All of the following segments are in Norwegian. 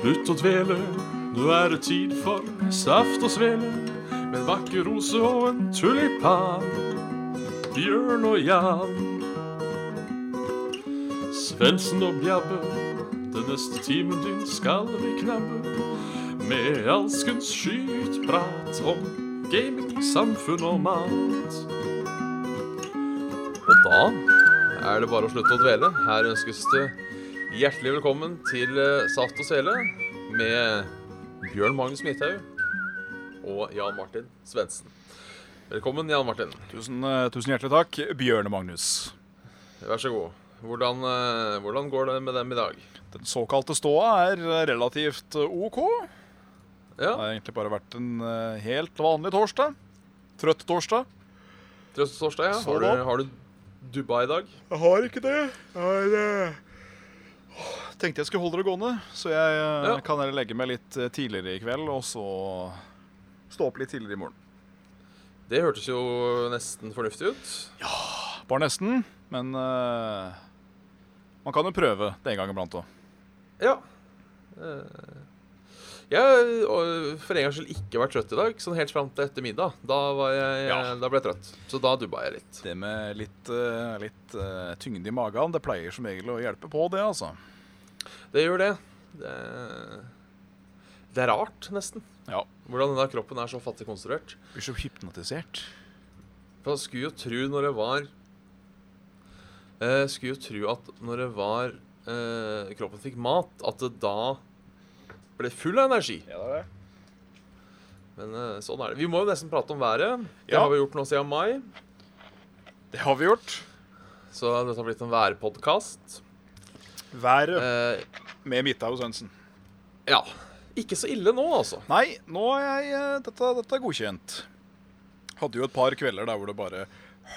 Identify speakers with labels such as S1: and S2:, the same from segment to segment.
S1: Slutt å dvele, nå er det tid for saft og svele. Med en vakker rose og en tulipan. Bjørn og Jan. Svendsen og Bjabbe, den neste timen din skal vi knabbe. Med alskens skytprat om gaming, samfunn og mat.
S2: Og da er det bare å slutte å dvele. Her ønskes det hjertelig velkommen til eh, Saft og Svele med Bjørn Magnus Midthaug og Jan Martin Svendsen. Velkommen, Jan Martin.
S3: Tusen, eh, tusen hjertelig takk, Bjørne Magnus.
S2: Vær så god. Hvordan, eh, hvordan går det med dem i dag?
S3: Den såkalte ståa er eh, relativt eh, OK.
S2: Ja,
S3: Det har egentlig bare vært en eh, helt vanlig torsdag. Trøtt torsdag.
S2: Trøstetorsdag, ja.
S3: Så
S2: Har
S3: da.
S2: du, har du dubba i dag?
S3: Jeg har ikke det. Jeg tenkte jeg skulle holde det gående, så jeg eh,
S2: Ja.
S3: kan heller legge meg litt eh, tidligere i kveld, og så stå opp litt tidligere i morgen.
S2: Det hørtes jo nesten fornuftig ut.
S3: Bare nesten, men eh, man kan jo prøve det en gang iblant òg.
S2: Ja. Eh, Jeg har for en gangs skyld ikke vært trøtt i dag, sånn helt fram til ettermiddag. Da, var jeg,
S3: Ja.
S2: da ble jeg trøtt. Så da dubba jeg litt.
S3: Det med litt, eh, litt eh, tyngde i magen, det pleier som regel å hjelpe på det, altså.
S2: Det gjør det. Det, det er rart, nesten.
S3: Ja.
S2: Hvordan denne kroppen er så fattig konstruert.
S3: Blir så hypnotisert.
S2: For jeg skulle jo tro når jeg var eh, Skulle jo tro at når jeg var eh, Kroppen fikk mat, at det da ble full av energi.
S3: Ja, det er det.
S2: Men eh, sånn er det. Vi må jo nesten prate om været. Det
S3: Ja.
S2: har vi gjort nå siden mai.
S3: Det har vi gjort.
S2: Så dette har blitt en værpodkast.
S3: Været
S2: Eh,
S3: med Midthaug Svendsen.
S2: ja. Ikke så ille nå, altså.
S3: Nei, nå er jeg eh, Dette, dette er godkjent. Hadde jo et par kvelder der hvor det bare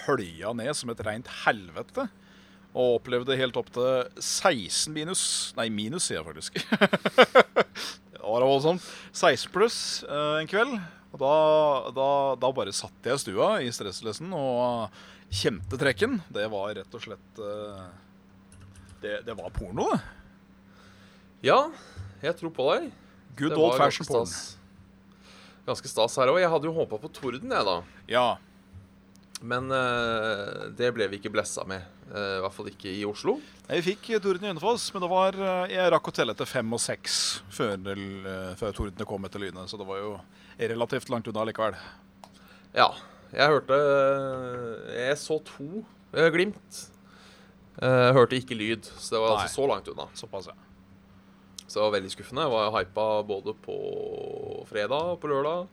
S3: hølja ned som et reint helvete. Og opplevde helt opp til 16 minus Nei, minus, sier jeg faktisk. det var da voldsomt. 16 pluss eh, en kveld. Og da, da, da bare satt jeg i stua i stresslessen og kjente trekken. Det var rett og slett eh, det, det var porno, det.
S2: Ja, jeg tror på deg.
S3: Good
S2: Det
S3: old
S2: var
S3: fashion
S2: ganske
S3: porn.
S2: stas. Ganske stas her òg. Jeg hadde jo håpa på torden, jeg, da.
S3: Ja.
S2: Men eh, det ble vi ikke blessa med. Eh, I hvert fall ikke i Oslo.
S3: Jeg fikk torden i Hønefoss, men det var, eh, jeg rakk å telle etter fem og seks før, det- eh, før tordene kom etter lynet, så det var jo relativt langt unna likevel.
S2: Ja. Jeg hørte eh, Jeg så to eh, glimt. Eh, hørte ikke lyd, så det var
S3: Nei.
S2: altså så langt unna.
S3: Såpass, ja.
S2: Så det var veldig skuffende. Jeg var hypa både på fredag, på lørdag,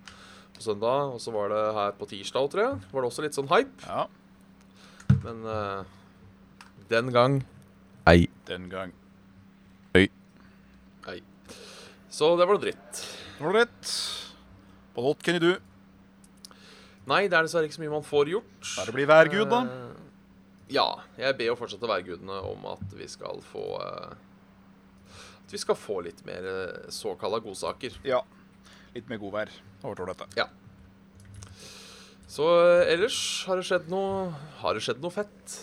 S2: på søndag, og så var det her på tirsdag, tror jeg. Var det også litt sånn hype,
S3: Ja,
S2: men eh, den gang Ei.
S3: den gang.
S2: Så det var noe dritt.
S3: Det var rett. But what can you do?
S2: Nei, det er dessverre ikke så mye man får gjort.
S3: Bare bli værgud, da.
S2: Eh, ja. Jeg ber jo fortsatt værgudene om at vi skal få eh, At vi skal få litt mer uh, såkalla godsaker.
S3: Ja. Litt mer godvær. Overtår dette.
S2: Så eh, ellers har det skjedd noe Har det skjedd noe fett?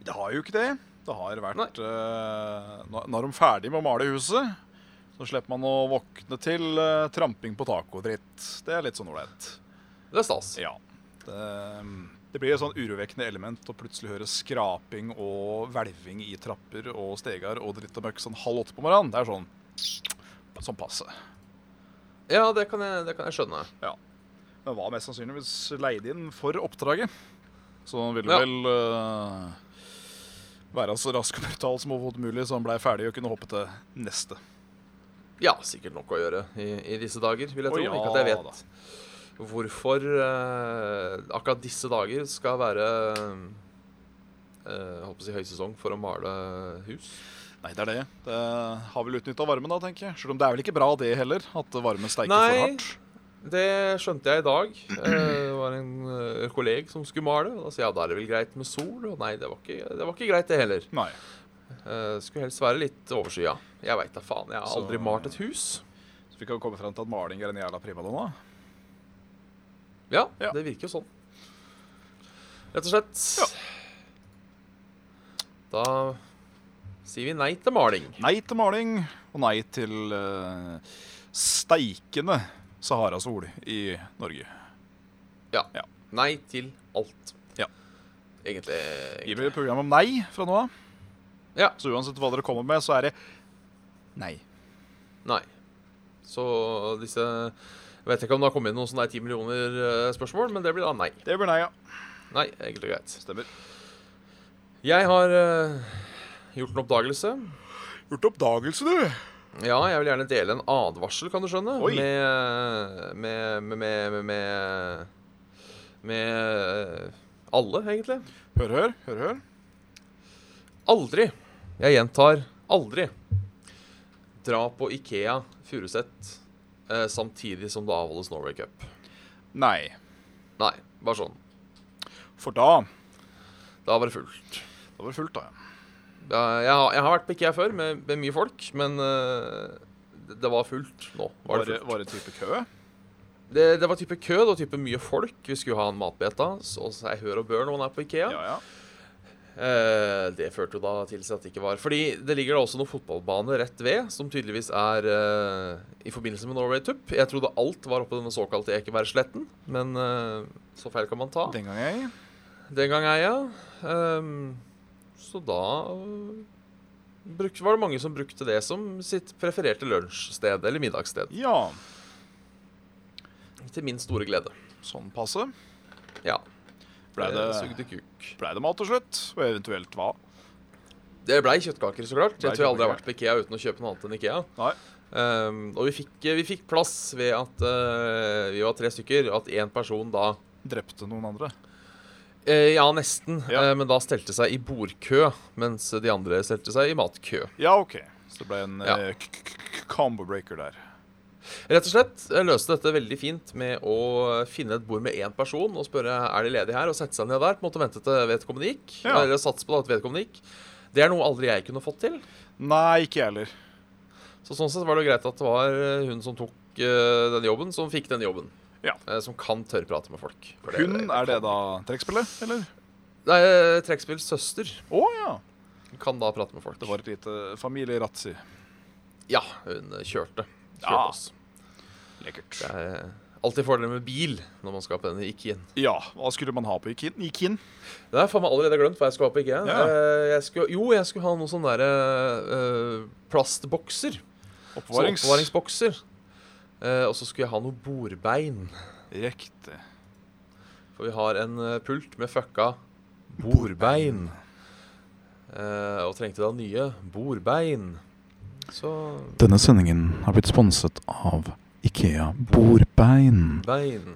S3: Det har jo ikke det. Det har vært eh, nå- Nå er de ferdig med å male huset. Så slipper man å våkne til eh, tramping på taco-dritt. Det er litt sånn ålreit.
S2: Det er stas.
S3: Ja. Det, det blir et sånn urovekkende element å plutselig høre skraping og hvelving i trapper og stegar og dritt og møkk sånn halv åtte på morgenen. Det er sånn sånn passe.
S2: Ja, det kan jeg, det kan jeg skjønne.
S3: Men var mest sannsynligvis leid inn for oppdraget. Så han ville
S2: Ja.
S3: vel eh, være så rask og brutal som overhodet mulig, så han blei ferdig og kunne hoppe til neste.
S2: Ja, sikkert nok å gjøre i, i disse dager, vil jeg
S3: Å,
S2: tro.
S3: ja
S2: Ikke at jeg vet hvorfor eh, akkurat disse dager skal være eh, holdt på å si høysesong for å male hus.
S3: Nei, det er det. Det har vel utnytta varmen, da, tenker jeg. Selv om det er vel ikke bra, det heller. At varmen steiker for
S2: Nei.
S3: hardt.
S2: Det skjønte jeg i dag. Eh, det var en eh, kolleg som skulle male. Og da sa jeg ja, da er det vel greit med sol. Og nei, det var ikke, det var ikke greit, det heller.
S3: Nei.
S2: Eh, skulle helst være litt overskya. Jeg veit da faen. Jeg har
S3: Så-
S2: aldri malt et hus.
S3: Så vi kan komme frem til at maling er en jævla primadonna.
S2: Ja,
S3: Ja.
S2: det virker jo sånn. Rett og slett. Da sier vi nei til maling.
S3: Nei til maling og nei til eh, steikende Sahara-sol i Norge.
S2: Ja.
S3: Ja.
S2: Nei til alt.
S3: Ja.
S2: Egentlig, egentlig.
S3: Gir vi et program om nei fra nå av?
S2: Ja.
S3: Så uansett hva dere kommer med, så er det nei.
S2: Nei. Så disse Jeg vet ikke om det har kommet inn noen sånn sånne 10 millioner-spørsmål, eh, men det blir da nei.
S3: Det blir nei, ja.
S2: Nei, egentlig greit.
S3: Stemmer.
S2: Jeg har eh, gjort en oppdagelse.
S3: Gjort oppdagelse, du.
S2: Ja, jeg vil gjerne dele en advarsel, kan du skjønne,
S3: Oi.
S2: med med, med, med, med med eh, alle, egentlig.
S3: Hør, hør, hør, hør.
S2: Aldri, jeg gjentar aldri, dra på Ikea Furuset eh, samtidig som det avholdes Norway Cup.
S3: Nei.
S2: Nei, bare sånn.
S3: For da
S2: Da var det fullt.
S3: Da var det fullt, da.
S2: Da, jeg, har- jeg har vært på Ikea før med, med mye folk, men eh, det, det var fullt nå. Var
S3: Var
S2: det,
S3: det,
S2: fullt.
S3: var det type kø?
S2: Det, det var type kø, det var type mye folk. Vi skulle ha en matbeta, og så jeg hør og bør når man er på Ikea.
S3: ja.
S2: Eh, det førte jo da til at det ikke var. Fordi det ligger da også noen fotballbane rett ved, som tydeligvis er eh, i forbindelse med Norway Tup. Jeg trodde alt var oppe i denne såkalte Ekebergsletten, men eh, så feil kan man ta. Den,
S3: Den gang jeg
S2: gang er jeg. Ehm, så da eh, bruk, var det mange som brukte det som sitt prefererte lunsjsted eller middagssted.
S3: Ja.
S2: Til min store glede.
S3: Sånn passe.
S2: Ja.
S3: Ble det,
S2: Jeg Sugde kuk.
S3: ble det mat til slutt? Og eventuelt hva?
S2: Det blei kjøttkaker, så klart.
S3: Blei
S2: Jeg tror jeg aldri har
S3: kjøttkaker.
S2: vært på Ikea uten å kjøpe noe annet enn Ikea.
S3: Nei.
S2: Ehm, og vi fikk, vi fikk plass ved at eh, vi var tre stykker. At én person da
S3: Drepte noen andre?
S2: eh, Ja, nesten.
S3: Ja.
S2: eh, men da stelte seg i bordkø, mens de andre stelte seg i matkø.
S3: Ja, OK. Så det ble en
S2: Ja.
S3: eh, k- k- k- combo breaker der.
S2: Rett og slett eh, løste dette veldig fint med å finne et bord med én person og spørre er det ledig her, og sette seg ned der. På en måte vente til vedkommende gikk.
S3: Ja.
S2: Eller satse på da at vedkommende gikk. Det er noe aldri jeg kunne fått til.
S3: Nei, ikke jeg heller.
S2: Så sånn sett var det jo greit at det var eh, hun som tok eh, den jobben, som fikk den jobben.
S3: Ja.
S2: Eh, som kan tørre prate med folk. For det-
S3: Hun er det da trekkspillet, eller?
S2: Det er trekkspills eh, søster.
S3: Å ja.
S2: Kan da prate med folk.
S3: Det var et lite familierazzi.
S2: Ja, hun eh, kjørte. Kjørte
S3: Ja.
S2: oss.
S3: Lekkert.
S2: Det er eh, alltid fordeler med bil når man skal på denne Ikeen.
S3: Ja, hva skulle man ha på Ikin? Ikin?
S2: Det har jeg faen meg allerede glemt hva jeg skulle ha på Ikea.
S3: Ja.
S2: Eh, Jeg skulle, jo, jeg skulle ha noen sånne der, eh, eh, plastbokser. Så
S3: Oppvarings.
S2: Oppbevaringsbokser. Eh, og så skulle jeg ha noe bordbein.
S3: Riktig.
S2: For vi har en eh, pult med fucka bordbein. Eh, og trengte da nye bordbein. Så
S3: Denne sendingen har blitt sponset av Ikea Bordbein.
S2: Bein.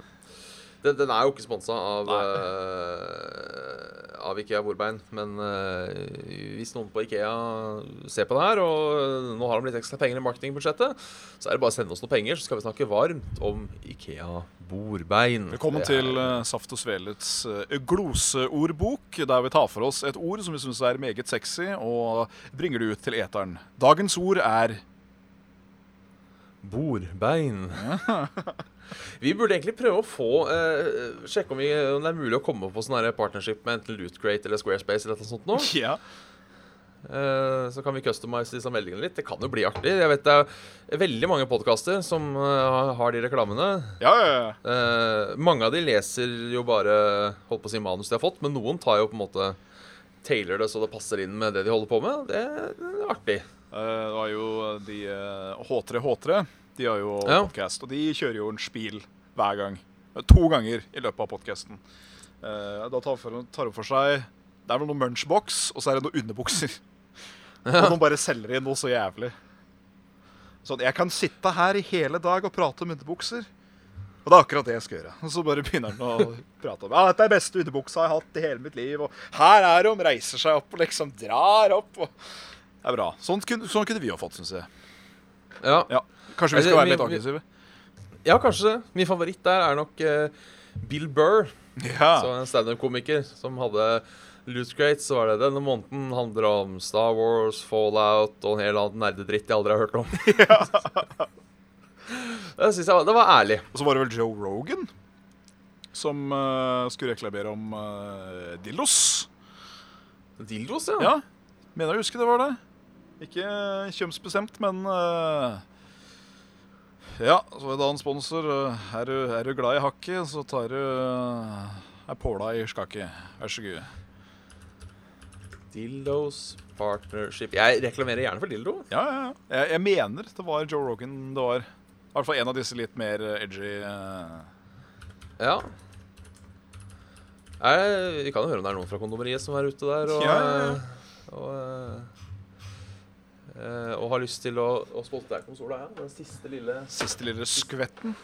S2: Den, den er jo ikke sponsa av,
S3: Nei.
S2: eh, av Ikea Bordbein, men eh, hvis noen på Ikea ser på det her, og eh, nå har de litt ekstra penger i marketingbudsjettet, så er det bare å sende oss noen penger, så skal vi snakke varmt om Ikea Bordbein.
S3: Velkommen
S2: Det er-
S3: til eh, Saft og Svelets eh, gloseordbok, der vi tar for oss et ord som vi syns er meget sexy, og bringer det ut til eteren. Dagens ord er
S2: Bordbein. vi burde egentlig prøve å få eh, Sjekke om, vi, om det er mulig å komme på sånn her partnership med enten Lootcrate eller Squarespace eller noe sånt nå.
S3: Ja.
S2: Eh, Så kan vi customize disse meldingene litt. Det kan jo bli artig. Jeg vet det er veldig mange podkaster som eh, har de reklamene.
S3: Ja, ja, ja.
S2: Eh, mange av de leser jo bare holdt på å si manus de har fått, men noen tar jo på en måte Tailer det så det passer inn med det de holder på med. Det er artig.
S3: Eh, Det var jo de eh, H3H3. De har jo
S2: Ja.
S3: podcast, og de kjører jo en spil hver gang. Eh, To ganger i løpet av podkasten. Da tar for- tar hun for seg Det er vel noen munchbox, og så er det noen underbukser. Og noen bare selger inn noe så jævlig. Sånn, jeg kan sitte her i hele dag og prate om underbukser. Og det er akkurat det jeg skal gjøre. Og så bare begynner han å prate om Ja, dette er beste underbuksa jeg har hatt i hele mitt liv. Og her er hun, reiser seg opp og liksom drar opp. Og... Det er bra. Sånn kunne, sånn kunne vi jo fått, syns jeg.
S2: Ja.
S3: Ja. Kanskje
S2: Eller,
S3: Altså, vi skal
S2: vi-
S3: være litt
S2: vi-
S3: aggressive?
S2: ja, kanskje. det. Min favoritt der er nok eh, Bill Burr. Så
S3: Ja.
S2: en standup-komiker som hadde Loot Crate, så var det denne måneden handler om Star Wars, Fallout og en hel annen nerdedritt jeg aldri har hørt om. det synes jeg var, det var ærlig.
S3: Og så var det vel Joe Rogan som eh, skulle reklamere om eh, dildos.
S2: Dildos, ja.
S3: Ja. Mener jeg å huske det var det. Ikke eh, kjønnsbestemt, men eh, Ja, så er det en sponsor. eh, Er du, er du glad i hakket, så tar du eh, ei påla i skakket. Vær så god.
S2: Dildos Partnership. Jeg reklamerer gjerne for dildo.
S3: Ja, ja, ja. Jeg, jeg mener det var Joe Rogan det var. I hvert fall en av disse litt mer eh, edgy eh,
S2: Ja. Jeg, vi kan jo høre om det er noen fra kondomeriet som er ute der og,
S3: Ja, ja, ja.
S2: og, eh, eh, og har lyst til å, å spolte deg konsola, ja. Den siste lille,
S3: siste lille skvetten.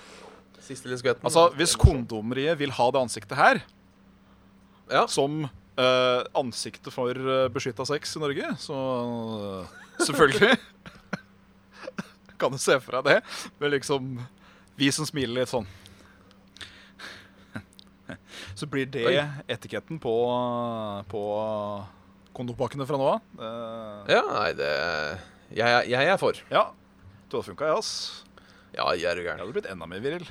S2: siste lille skvetten.
S3: Altså, hvis kondomeriet vil ha det ansiktet her
S2: Ja.
S3: som eh, ansiktet for uh, beskytta sex i Norge, så eh, selvfølgelig Kan du se for deg det? Men liksom Vi som smiler litt sånn. Så blir det
S2: Oi.
S3: etiketten på, på kondompakkene fra nå av. Eh,
S2: Ja, nei, det Jeg, jeg er for.
S3: ja. Du hadde funka, jeg, ass.
S2: Ja, jeg er jo
S3: Jeg
S2: gæren.
S3: hadde blitt enda mer viril.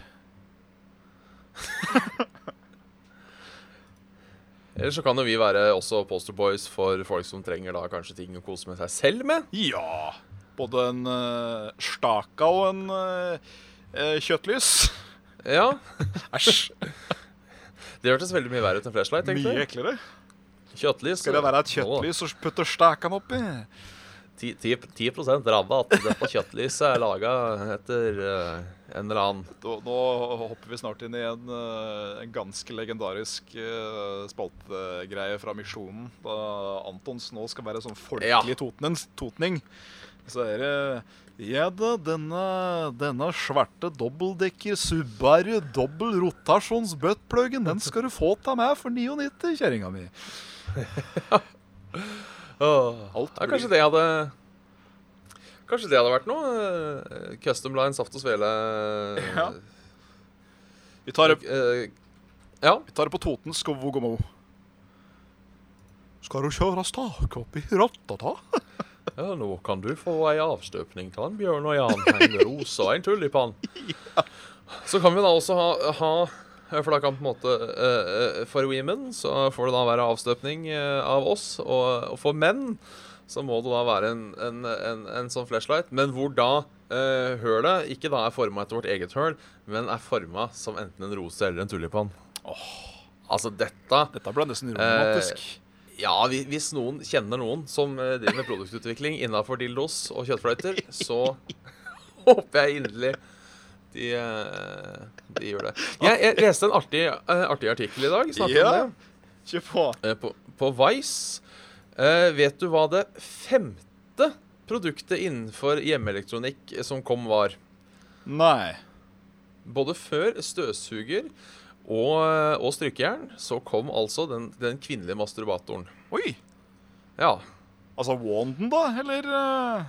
S2: Ellers så kan jo vi være også posterboys for folk som trenger da kanskje ting å kose med seg selv med.
S3: Ja. Både en eh, staka og en eh, eh, kjøttlys.
S2: Ja.
S3: Æsj.
S2: Det hørtes veldig mye verre ut enn flashlight,
S3: Mye
S2: egentlig.
S3: eklere.
S2: Kjøttlys.
S3: Skal det være et
S2: Nå da.
S3: kjøttlys og putte stakan oppi?
S2: 10, 10 rabatt. Dette kjøttlyset er laga etter eh, en eller annen
S3: Nå, nå hopper vi snart inn i en, eh, en ganske legendarisk eh, spaltegreie fra Misjonen. Da Antons nå skal være sånn folkelig
S2: Ja.
S3: totnen, totning. Så er det Ja da, denne, denne svarte dobbeldekker Subaru dobbel rotasjons buttpluggen, den skal du få av meg for 99, kjerringa mi. Alt
S2: ja,
S3: blir-
S2: Kanskje det hadde Kanskje det hadde vært noe? eh, Custom line, saft og svele eh,
S3: Ja. Vi tar det,
S2: eh, ja.
S3: vi tar det på Toten skovogomo. Skal du kjøre stake oppi rattata?
S2: ja, nå kan du få ei avstøpning av en bjørn og Jan, en rose og en tulipan. Så kan vi da også ha, ha for da kan på en måte eh, eh, For women så får det da være avstøpning eh, av oss. Og, og for menn så må det da være en, en, en, en sånn flashlight. Men hvor da eh, hølet ikke da er forma etter vårt eget høl, men er forma som enten en rose eller en tulipan. Altså dette
S3: Dette ble nesten romantisk.
S2: ja, hvi- hvis noen kjenner noen som eh, driver med produktutvikling innafor dildos og kjøttfløyter, så håper jeg inderlig de, eh, de gjør det. Jeg, jeg leste en artig, eh, artig artikkel i dag. snakket om
S3: Ja.
S2: det,
S3: Kjør på.
S2: eh, På, på Vice. Eh, Vet du hva det femte produktet innenfor hjemmeelektronikk som kom, var?
S3: Nei.
S2: Både før støvsuger og, eh, og strykejern så kom altså den, den kvinnelige masturbatoren.
S3: Oi.
S2: Ja,
S3: Altså Wanden, da? Eller eh,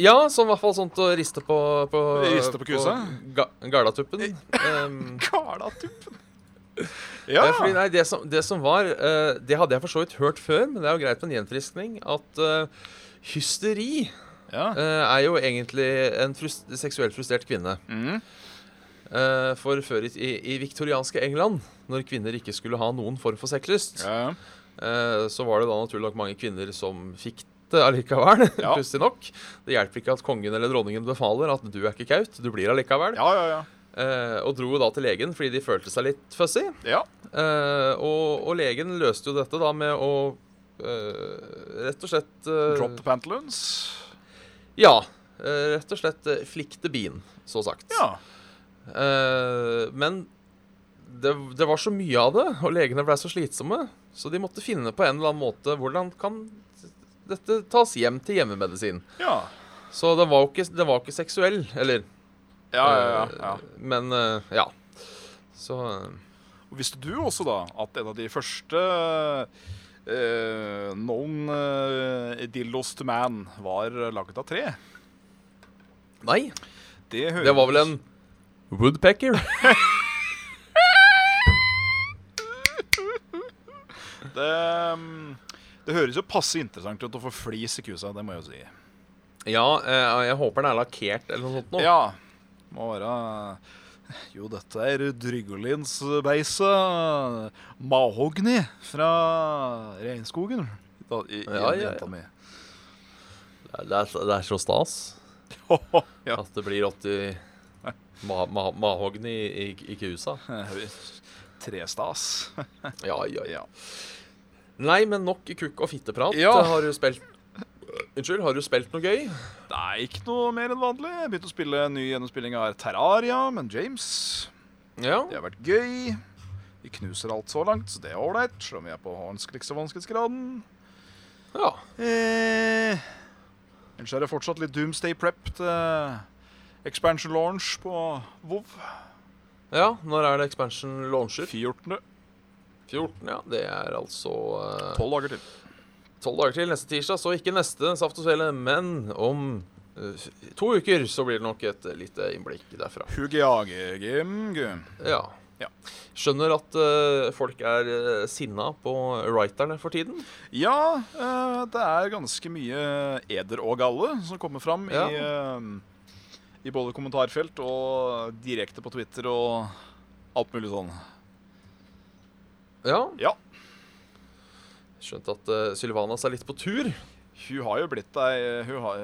S2: Ja, som i hvert fall sånt å riste på På,
S3: Riste på kusa?
S2: ga, Galatuppen. Ehm,
S3: Galatuppen? Ja.
S2: eh, fordi, nei, det som, det som var eh, Det hadde jeg for så vidt hørt før, men det er jo greit med en gjenfriskning. At eh, hysteri
S3: ja.
S2: eh, er jo egentlig en frus seksuelt frustrert kvinne.
S3: Mm.
S2: Eh, for før i, i, i viktorianske England, når kvinner ikke skulle ha noen form for sexlyst,
S3: ja.
S2: eh, så var det da naturlig nok mange kvinner som fikk det allikevel.
S3: Ja.
S2: Pussig nok. Det hjelper ikke at kongen eller dronningen befaler at du er ikke kaut, du blir allikevel.
S3: Ja, ja, ja.
S2: Eh, og dro jo da til legen fordi de følte seg litt fussy.
S3: ja.
S2: Eh, og, og legen løste jo dette da med å eh, rett og slett eh,
S3: Drop the pantaloons.
S2: Ja. eh, rett og slett eh, flikte bien, så sagt.
S3: Ja.
S2: Eh, men det, det var så mye av det, og legene ble så slitsomme, så de måtte finne på en eller annen måte hvordan kan dette tas hjem til hjemmemedisin.
S3: Ja.
S2: Så det var jo ikke, det var ikke seksuell, eller
S3: Ja, ja, ja,
S2: eh, Men eh, ja. Så eh,
S3: Og Visste du også da at en av de første eh, known eh, dildos to man var laget av tre?
S2: Nei.
S3: Det, høres-
S2: Det var vel en woodpecker?
S3: det, mm, det høres jo passe interessant ut å få flis i kusa, det må jeg jo si.
S2: ja, eh, jeg håper den er lakkert eller noe sånt. Nå.
S3: Ja. Må være Jo, dette er Dryggelinsbeise Mahogni fra regnskogen. Da, i, i
S2: Ja, ja,
S3: jenta
S2: ja.
S3: mi.
S2: Det er, det er, det er så stas
S3: ja.
S2: at det blir 80 ma ma mahogni i, i kusa.
S3: Trestas.
S2: Ja, ja, ja.
S3: ja.
S2: Nei, men nok kukk- og fitteprat.
S3: Ja.
S2: Har du spilt Unnskyld, har du spilt noe gøy?
S3: Det er ikke noe mer enn vanlig. Jeg begynte å spille en ny gjennomspilling av Terraria, men James
S2: Ja.
S3: Det har vært gøy. Vi knuser alt så langt, så det er ålreit. Selv om vi er på vanskeligste vanskelighetsgraden.
S2: ja.
S3: Eh. Ellers er det fortsatt litt Doomsday Prep til Expansion Launch på WoW.
S2: Ja, når er det expansion launcher?
S3: 14.
S2: 14, ja. Det er altså eh,
S3: 12 dager til.
S2: tolv dager til neste tirsdag, så ikke neste Saft og Svele, men om eh, f- to uker så blir det nok et eh, lite innblikk derfra.
S3: Hugeage-game.
S2: Ja.
S3: Ja.
S2: Skjønner at eh, folk er eh, sinna på writerne for tiden.
S3: Ja, eh, det er ganske mye eder og galle som kommer fram
S2: Ja.
S3: i, eh, i både kommentarfelt og direkte på Twitter og alt mulig sånn.
S2: Ja.
S3: Ja,
S2: Skjønt at eh, Sylvanas er litt på tur.
S3: hun har jo blitt ei hun har,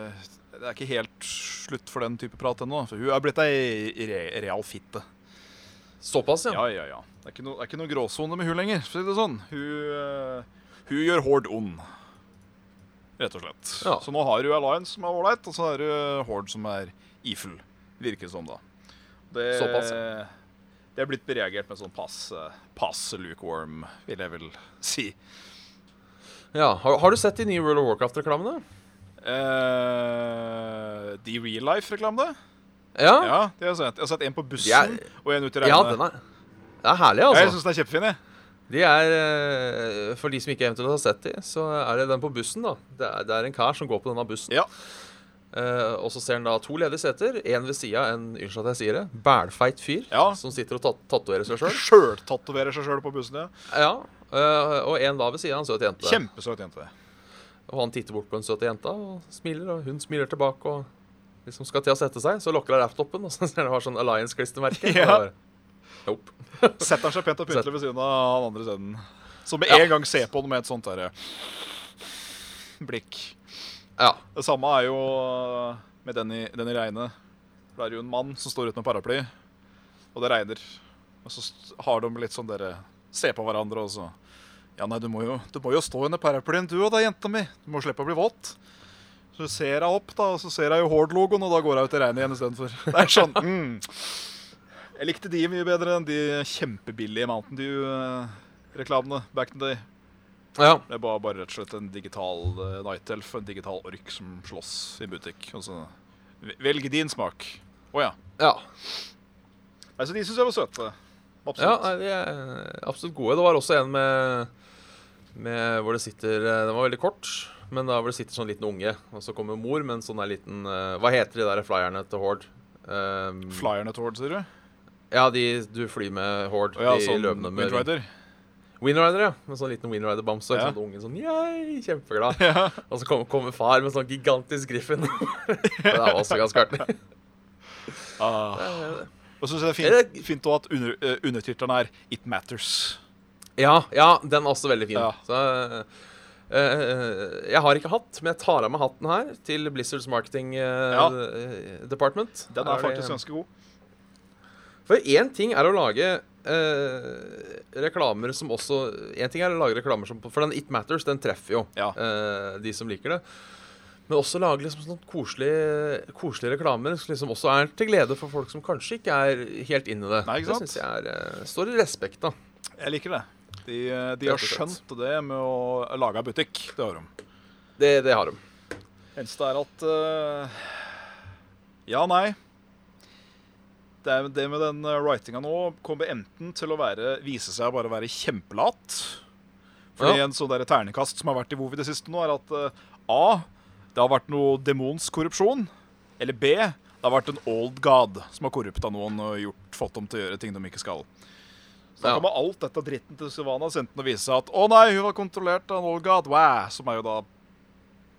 S3: Det er ikke helt slutt for den type prat ennå, for hun er blitt ei re, real fitte.
S2: Såpass, ja.
S3: Ja, ja, ja. Det er ikke, no, det er ikke noe gråsone med hun lenger, for å si det sånn. Hun, eh, hun gjør Horde ond, rett og slett.
S2: Ja.
S3: Så nå har hun Alliance som er ålreit, og så har hun Horde som er evil, virker det som, da. Det,
S2: Såpass,
S3: det er blitt bereagert med sånn passe, passe lukewarm, vil jeg vel si.
S2: ja. Har, har du sett de nye World of Warcraft-reklamene?
S3: Eh, de real life-reklamene?
S2: Ja.
S3: Ja, det har jeg sett. Jeg har sett en på bussen
S2: Jeg-
S3: og en ute i
S2: Ja,
S3: regnet.
S2: den er, altså. det er herlig,
S3: Ja, jeg
S2: altså.
S3: syns den er kjempefin, jeg.
S2: De er, eh, For de som ikke eventuelt har sett de, så er det den på bussen, da. Det er, det er en kar som går på denne bussen.
S3: Ja.
S2: Eh, og så ser han da to ledige seter, én ved sida av en unnskyld at jeg sier det, bælfeit fyr
S3: Ja.
S2: som sitter og tat tatoverer seg sjøl.
S3: Sjøltatoverer seg sjøl på bussen, ja.
S2: Ja. eh, og en da ved sida av en søt jente.
S3: Kjempesøt jente.
S2: Og han titter bort på den søte jenta og smiler, og hun smiler tilbake og liksom skal til å sette seg. Så lokker han laptopen, og så ser han har sånn Alliance-klistremerke. og
S3: Ja.
S2: bare, Nope.
S3: Setter seg pent og pyntelig ved siden av han andre senden. Som med
S2: Ja.
S3: en gang ser på den med et sånt derre blikk.
S2: Ja.
S3: Det samme er jo med den i, den i regnet. For Det er jo en mann som står ute med paraply, og det regner. Og så st- har de litt sånn dere ser på hverandre og så Ja, nei, du må jo, du må jo stå under paraplyen, du og da, jenta mi. Du må slippe å bli våt. Så ser jeg opp, da, og så ser jeg jo Hord-logoen, og da går jeg ut i regnet igjen istedenfor. Det er sånn mm. Jeg likte de mye bedre enn de kjempebillige Mountain Dew-reklamene back in the day.
S2: ja.
S3: Det var bare rett og slett en digital eh, Night Elf, en digital ork som slåss i butikk. Og så ve- velg din smak. Å ja.
S2: Ja.
S3: Altså, de syns jeg var søte.
S2: Ja,
S3: Absolutt.
S2: nei, de er absolutt gode. Det var også en med, med hvor det sitter eh, Den var veldig kort, men da hvor det sitter sånn liten unge, og så kommer mor med en sånn der liten eh, Hva heter de der flyerne til Horde? Ehm,
S3: Flyerne til Horde, sier du?
S2: ja, de du flyr med Horde.
S3: Å ja,
S2: de
S3: sånn
S2: løpende med
S3: Windrider.
S2: Windrider, ja. Med sånn liten Windrider-bamse. og
S3: Ja.
S2: en Sånn unge sånn Yay! Kjempeglad.
S3: Ja.
S2: Og så kom- kommer far med sånn gigantisk griffin. det der var også ganske artig.
S3: Ah. Og så syns jeg det
S2: Er
S3: er fint, fint også at under, eh, undertittelen er It Matters.
S2: Ja, ja, den er også veldig fin.
S3: Ja.
S2: Så, eh, eh, jeg har ikke hatt, men jeg tar av meg hatten her til Blizzards marketing eh,
S3: Ja.
S2: eh, department.
S3: Den
S2: Der
S3: er
S2: det-
S3: faktisk ganske god.
S2: For én ting er å lage eh, reklamer som også En ting er å lage reklamer som For den It Matters, den treffer jo
S3: Ja.
S2: eh, de som liker det. Men også lage liksom sånn koselige, koselige reklamer som liksom også er til glede for folk som kanskje ikke er helt inn i det.
S3: Nei, ikke
S2: det
S3: sant?
S2: syns jeg er, eh, står i respekt, da.
S3: Jeg liker det. De, eh, de har
S2: Rett og slett.
S3: skjønt det med å lage butikk. Det har de.
S2: Det, det har de.
S3: Eneste er at eh, Ja, nei. Det, er, det med den eh, writinga nå kommer enten til å være, vise seg å bare være kjempelat. Fordi
S2: Ja.
S3: en sånn der ternekast som har vært i WoW i det siste nå, er at eh, A. Det har vært noe demonsk korrupsjon. Eller B. Det har vært en old god som har korrupta noen og gjort, fått dem til å gjøre ting de ikke skal. Så da
S2: Ja.
S3: kommer alt dette dritten til Sylvana enten å vise seg at 'Å nei, hun var kontrollert av en old god', Wah, som er jo da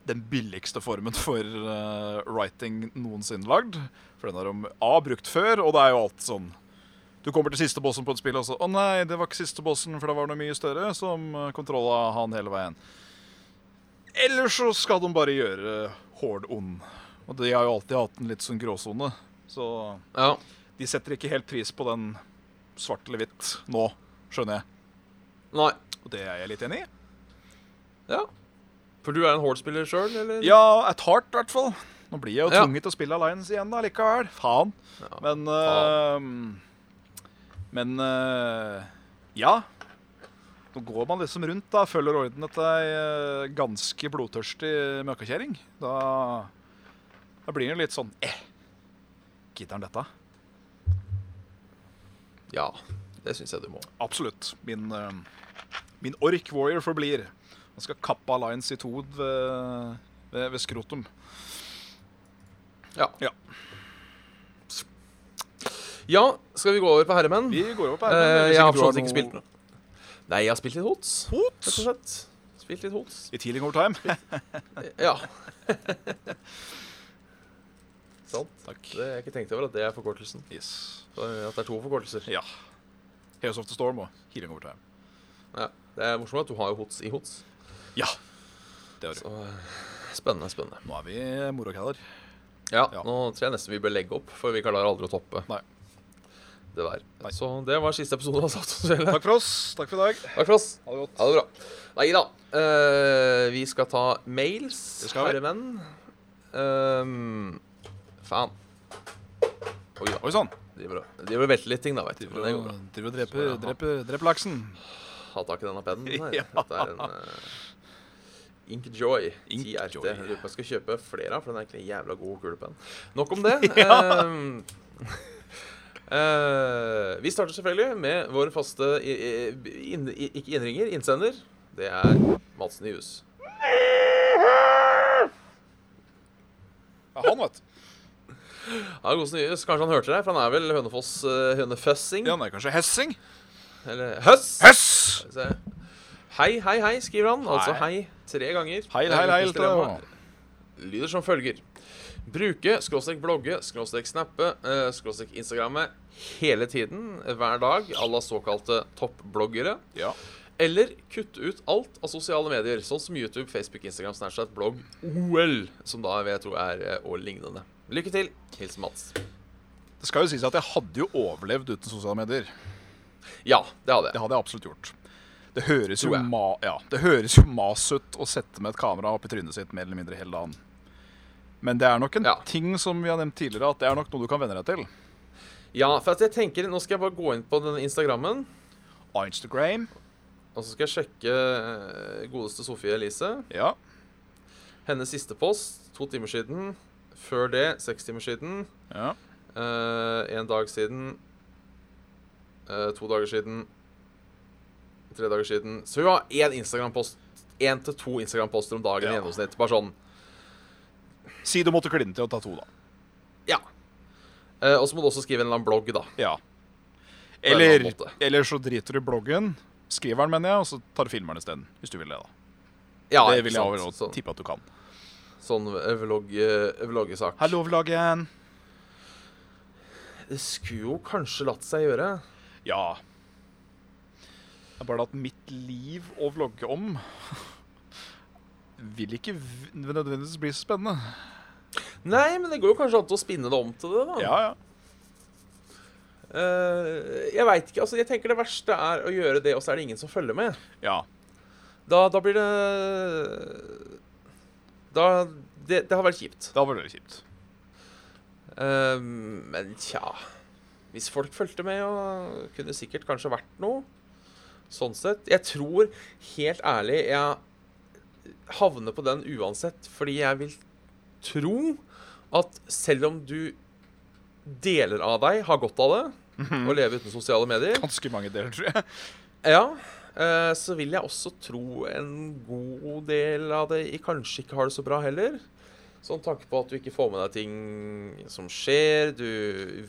S3: den billigste formen for eh, writing noensinne lagd. For den har de A brukt før, og det er jo alt sånn Du kommer til siste bossen på et spill, og så 'Å nei, det var ikke siste bossen, for det var noe mye større som eh, kontrolla han hele veien'. Eller så skal de bare gjøre Hord ond. Og de har jo alltid hatt en litt sånn gråsone. Så
S2: Ja.
S3: de setter ikke helt pris på den svart eller hvitt nå, skjønner jeg.
S2: Nei.
S3: Og det er jeg litt enig i.
S2: Ja. For du er en Horde-spiller sjøl, eller?
S3: Ja, at heart, i hvert fall. Nå blir jeg jo
S2: Ja.
S3: tvunget til å spille Alliance igjen da, likevel. Faen. Men eh, Men eh, ja. Nå går man liksom rundt da, følger orden etter ei eh, ganske blodtørstig møkkakjerring. Da, da blir det litt sånn eh, Gidder han dette?
S2: Ja. Det syns jeg du må.
S3: Absolutt. Min, eh, min ork warrior forblir. Han skal kappe Alliance i to ved, ved, ved skrotum.
S2: Ja.
S3: Ja.
S2: ja. Skal vi gå over på herremenn?
S3: Vi går over på
S2: Eh,
S3: Iron Man, hvis
S2: jeg har
S3: du
S2: for så vidt ikke
S3: noe-
S2: spilt noe. Nei, jeg har spilt litt Hots. Rett og
S3: Hot!
S2: slett. Spilt litt Hots.
S3: I Tealing Over Time.
S2: Ja. Sant.
S3: Takk.
S2: Det jeg ikke tenkt over, at det er forkortelsen.
S3: Yes.
S2: Så, eh, At det er to forkortelser.
S3: Ja. Heroes of the Storm og Healing Over Time.
S2: Ja. Det er morsomt at du har jo Hots i Hots.
S3: Ja. Det har du.
S2: Så eh, spennende, spennende.
S3: Nå er vi morokaller.
S2: Ja,
S3: Ja.
S2: nå tror jeg nesten vi bør legge opp, for vi klarer aldri å toppe
S3: Nei.
S2: det der.
S3: Nei.
S2: Så det var siste episode av Saftosfjellet.
S3: Takk for oss. Takk for i dag.
S2: Takk for oss.
S3: Ha det godt.
S2: Ha det bra. Nei da. eh, vi skal ta mails,
S3: Det skal vi.
S2: herre menn. Ehm, faen. Oi da.
S3: Oi sann.
S2: Driver og- driver og velter litt ting, da, vet du. Men det går bra.
S3: Driver og dreper, dreper, dreper laksen.
S2: Ha tak i denne pennen her.
S3: Ja.
S2: Dette er en eh, Inkjoy
S3: Inkjoy.
S2: 10RT. Jeg lurer på om jeg skal kjøpe flere av, for den er egentlig en jævla god kulepenn. Nok om det. Ehm, eh, vi starter selvfølgelig med vår faste i- i- inn- i- ikke innringer, innsender. Det er Madsen i hus.
S3: Ja, han, vet du.
S2: Ja, god snøhus. Kanskje han hørte deg, for han er vel Hønefoss eh, Høneføssing?
S3: Ja, han er kanskje hessing?
S2: Eller Høss!
S3: Hess!
S2: Skal vi se. Hei, hei, hei, skriver han. Altså
S3: Hei.
S2: hei tre ganger.
S3: Heil, heil, heil. til deg.
S2: Lyder som følger. Bruke skråstrek blogge, skråstrek snappe, eh, skråstrek instagramme hele tiden, hver dag, à la såkalte toppbloggere.
S3: Ja.
S2: Eller kutte ut alt av sosiale medier, sånn som YouTube, Facebook, Instagram, Snapchat, blogg, OL, som da jeg tror er eh, og lignende. Lykke til. Hilsen Mats.
S3: Det skal jo sies at jeg hadde jo overlevd uten sosiale medier.
S2: Ja, det hadde jeg.
S3: Det hadde jeg absolutt gjort. Det høres jo,
S2: Tror jeg.
S3: ma ja, det høres jo mas ut å sette med et kamera opp i trynet sitt mer eller mindre hele dagen. Men det er nok en
S2: Ja.
S3: ting som vi har nevnt tidligere, at det er nok noe du kan venne deg til.
S2: Ja, for at jeg tenker, nå skal jeg bare gå inn på denne Instagrammen,
S3: Instagram.
S2: og så skal jeg sjekke eh, godeste Sofie Elise.
S3: Ja.
S2: Hennes siste post, to timer siden. Før det, seks timer siden.
S3: ja.
S2: eh, en dag siden. eh, to dager siden. Tre dager siden. Så hun har én Instagram-post. Én til to Instagram-poster om dagen i
S3: Ja.
S2: gjennomsnitt. Bare sånn.
S3: Si du måtte kline til å ta to, da.
S2: Ja. Eh, og så må du også skrive en eller annen blogg, da.
S3: Ja.
S2: en eller annen
S3: Eller,
S2: måte.
S3: eller så driter du i bloggen, skriver den, mener jeg, og så tar du filmeren isteden. Hvis du vil det, da.
S2: Ja,
S3: det vil
S2: ikke
S3: jeg
S2: sant?
S3: overhodet
S2: sånn,
S3: tippe at du kan.
S2: sånn vlogg, eh, vloggesak.
S3: Hallo, vloggen.
S2: Det skulle jo kanskje latt seg gjøre.
S3: Ja. Det er bare det at mitt liv å vlogge om vil ikke v- nødvendigvis bli så spennende.
S2: Nei, men det går jo kanskje an til å spinne det om til det, da.
S3: Ja, ja.
S2: Eh, jeg veit ikke. altså Jeg tenker det verste er å gjøre det, og så er det ingen som følger med.
S3: Ja.
S2: Da, da blir det Da Det, det har vært kjipt.
S3: Da var det kjipt.
S2: Eh, men tja Hvis folk fulgte med, og kunne det sikkert kanskje vært noe. Sånn sett. Jeg tror, helt ærlig, jeg havner på den uansett, fordi jeg vil tro at selv om du deler av deg har godt av det, å leve uten sosiale medier
S3: Ganske mange deler, tror jeg.
S2: Ja, eh, så vil jeg også tro en god del av det i kanskje ikke har det så bra heller. Sånn tanke på at du ikke får med deg ting som skjer, du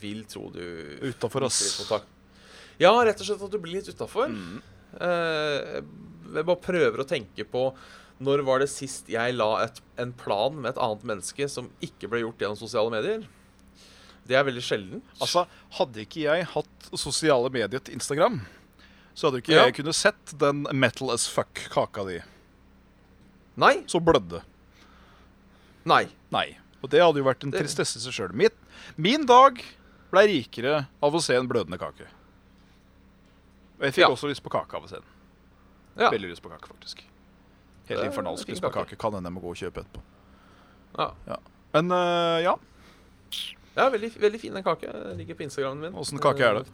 S2: vil tro du
S3: Utafor
S2: mister litt kontakt. Ja, rett og slett at du blir litt utafor. Eh, jeg bare prøver å tenke på når var det sist jeg la et, en plan med et annet menneske som ikke ble gjort gjennom sosiale medier? Det er veldig sjelden.
S3: Altså, hadde ikke jeg hatt sosiale medier til Instagram, så hadde ikke
S2: Ja.
S3: jeg kunne sett den metal as fuck-kaka di.
S2: Nei.
S3: så blødde.
S2: Nei.
S3: Nei. Og det hadde jo vært en
S2: Det-
S3: tristesse i seg sjøl. Min dag blei rikere av å se en blødende kake. Og jeg fikk
S2: Ja.
S3: også lyst på kake av å se den.
S2: Ja.
S3: Veldig lyst på kake, faktisk.
S2: Det
S3: Helt
S2: er
S3: infernalsk
S2: fin
S3: lyst på
S2: kake.
S3: kake. Kan hende jeg må gå og kjøpe etterpå.
S2: ja.
S3: Men øh, ja,
S2: Ja, veldig, veldig fin den kake. Den ligger på Instagramen min. Eh,
S3: åssen kake er det?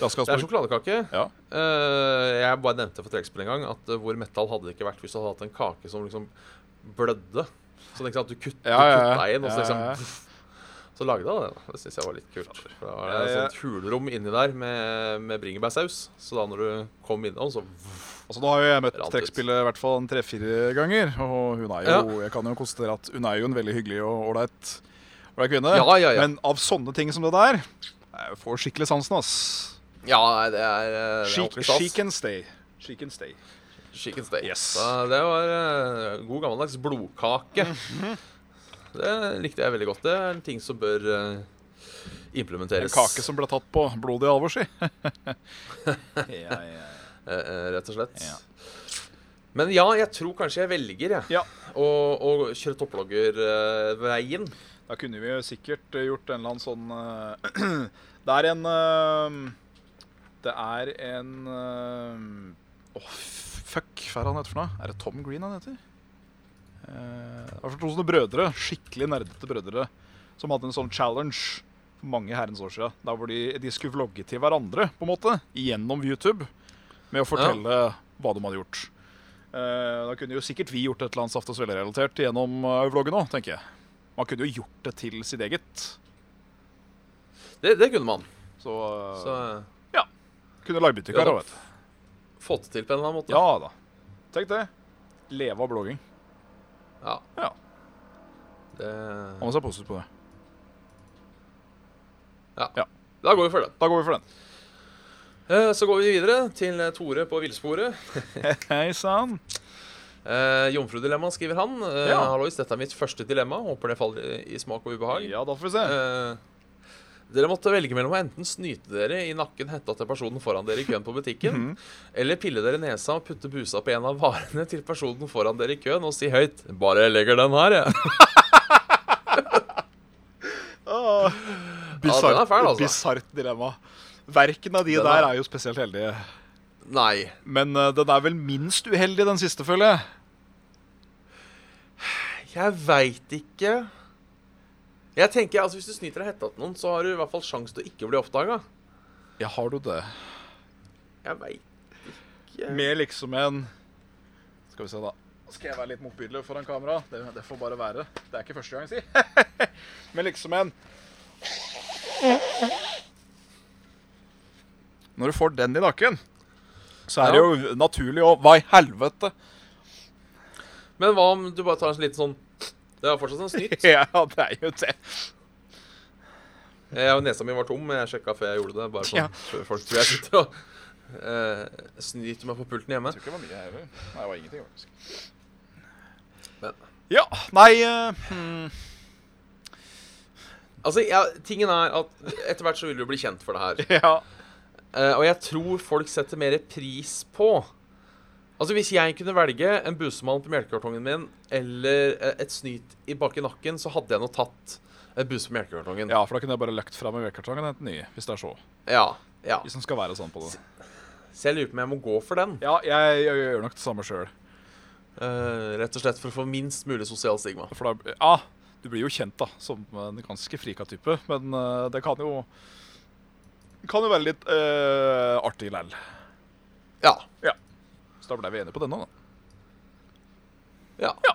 S3: Raske
S2: Det er
S3: Asperger.
S2: sjokoladekake.
S3: Ja.
S2: Eh, jeg bare nevnte for trekkspill en gang at eh, hvor metal hadde det ikke vært hvis du hadde hatt en kake som liksom blødde. Sånn ikke sant, du kutt- du
S3: Ja, ja, ja.
S2: kutta en, og så
S3: Ja,
S2: liksom
S3: ja, ja.
S2: Så lagde han den. Det syns jeg var litt kult. For da var det et
S3: Ja, ja.
S2: sånt hulrom inni der med, med bringebærsaus. Så da når du kom innom, så
S3: Altså, nå har jo jeg møtt
S2: Rant ut.
S3: trekkspillet i hvert fall en tre-fire ganger. Og hun er jo, jeg kan jo konstatere at hun er jo en veldig hyggelig og ålreit ålreit kvinne.
S2: Ja, ja, ja.
S3: Men av sånne ting som det der jeg får skikkelig sansen, ass.
S2: Ja, nei, det er eh, det er
S3: Chic,
S2: ordentlig stas.
S3: chic and stay. Chic and stay.
S2: Chicken steak.
S3: Yes.
S2: Så det var eh, god gammeldags blodkake.
S3: Mhm.
S2: Det likte jeg veldig godt. Det er en ting som bør eh,
S3: En
S2: implementeres.
S3: kake som ble tatt på blodig alvor, si. ja, ja.
S2: eh, eh, rett og slett.
S3: Ja.
S2: Men ja, jeg tror kanskje jeg velger jeg,
S3: ja.
S2: å, å kjøre topploggerveien.
S3: Da kunne vi jo sikkert eh, gjort en eller annen sånn eh, Det er en eh, Det er en eh, Åh, f- fuck, hva er han heter for noe? Er det Tom Green han heter? Eh, Det var to sånne brødre, skikkelig nerdete brødre, som hadde en sånn challenge for mange herrens år siden. Der hvor de, de skulle vlogge til hverandre, på en måte, gjennom YouTube, med å fortelle hva de hadde gjort. Eh, da kunne jo sikkert vi gjort et eller annet Saft og Svele-relatert gjennom eh, vloggen òg, tenker jeg. Man kunne jo gjort det til sitt eget.
S2: Det, det kunne man.
S3: Så,
S2: Så eh,
S3: kunne lagbyttekar
S2: Ja,
S3: òg, vet du.
S2: fått det til på en eller annen måte.
S3: Ja da. Tenk det. Leve av blogging.
S2: Ja.
S3: Ja.
S2: Det,
S3: Han må se positivt på det.
S2: da går vi for den.
S3: Da går vi for den.
S2: Eh, Så går vi videre til eh, Tore på villsporet.
S3: Hei sann.
S2: Eh, Jomfrudilemma skriver han. Eh,
S3: Ja.
S2: Hallois, dette er mitt første dilemma. Håper det faller i- i smak og ubehag.
S3: Ja, da får vi se.
S2: Eh, dere måtte velge mellom å enten snyte dere i nakken hetta til personen foran dere i køen på butikken,
S3: Mhm.
S2: eller pille dere i nesa og putte busa på en av varene til personen foran dere i køen og si høyt 'Bare jeg legger den her, jeg'.
S3: Ah. Bisart-
S2: den er fæl, altså.
S3: Bisart dilemma. Verken av de
S2: Den er-
S3: der er jo spesielt heldige.
S2: Nei.
S3: Men eh, den er vel minst uheldig, den siste, føler jeg.
S2: Jeg veit ikke. Jeg tenker, altså Hvis du snyter deg i hetta til noen, så har du i hvert fall sjanse til å ikke bli oppdaga.
S3: Ja, har du det?
S2: Jeg veit ikke.
S3: Med liksom en Skal vi se, da. Skal jeg være litt motbydelig foran kamera? Det, det får bare være. Det er ikke første gang, si. Med liksom en Når du får den i nakken, så er det jo naturlig å Hva i helvete?
S2: Men hva om du bare tar en liten sånn Det er fortsatt en snytt.
S3: Ja, det er jo det.
S2: Jeg, nesa mi var tom, men jeg sjekka før jeg gjorde det. Bare sånn,
S3: Ja.
S2: for Folk tror jeg sitter og eh, snyter meg på pulten hjemme.
S3: Jeg tror ikke det var mye her. eller? Nei, det var ingenting, faktisk.
S2: Men-
S3: Ja. Nei eh, hmm,
S2: Altså, jeg, tingen er at Etter hvert så vil du bli kjent for det her.
S3: Ja.
S2: Eh, og jeg tror folk setter mer pris på Altså, Hvis jeg kunne velge en busemann på melkekartongen min eller eh, et snyt i bak i nakken, så hadde jeg nå tatt en buse på melkekartongen.
S3: ja, for da kunne jeg bare lagt fram i vedkartongen og hentet nye, hvis det er så.
S2: ja, ja.
S3: Hvis den skal være sånn på det.
S2: Så jeg lurer på om jeg må gå for den.
S3: Ja, jeg, jeg, gjør nok det samme sjøl.
S2: eh, rett og slett for å få minst mulig sosial stigma.
S3: For da Ja, du blir jo kjent da som en ganske frika type, men eh, det kan jo det Kan jo være litt eh, artig læll.
S2: Ja.
S3: Så da ble vi enige på denne, da.
S2: Ja.
S3: Ja.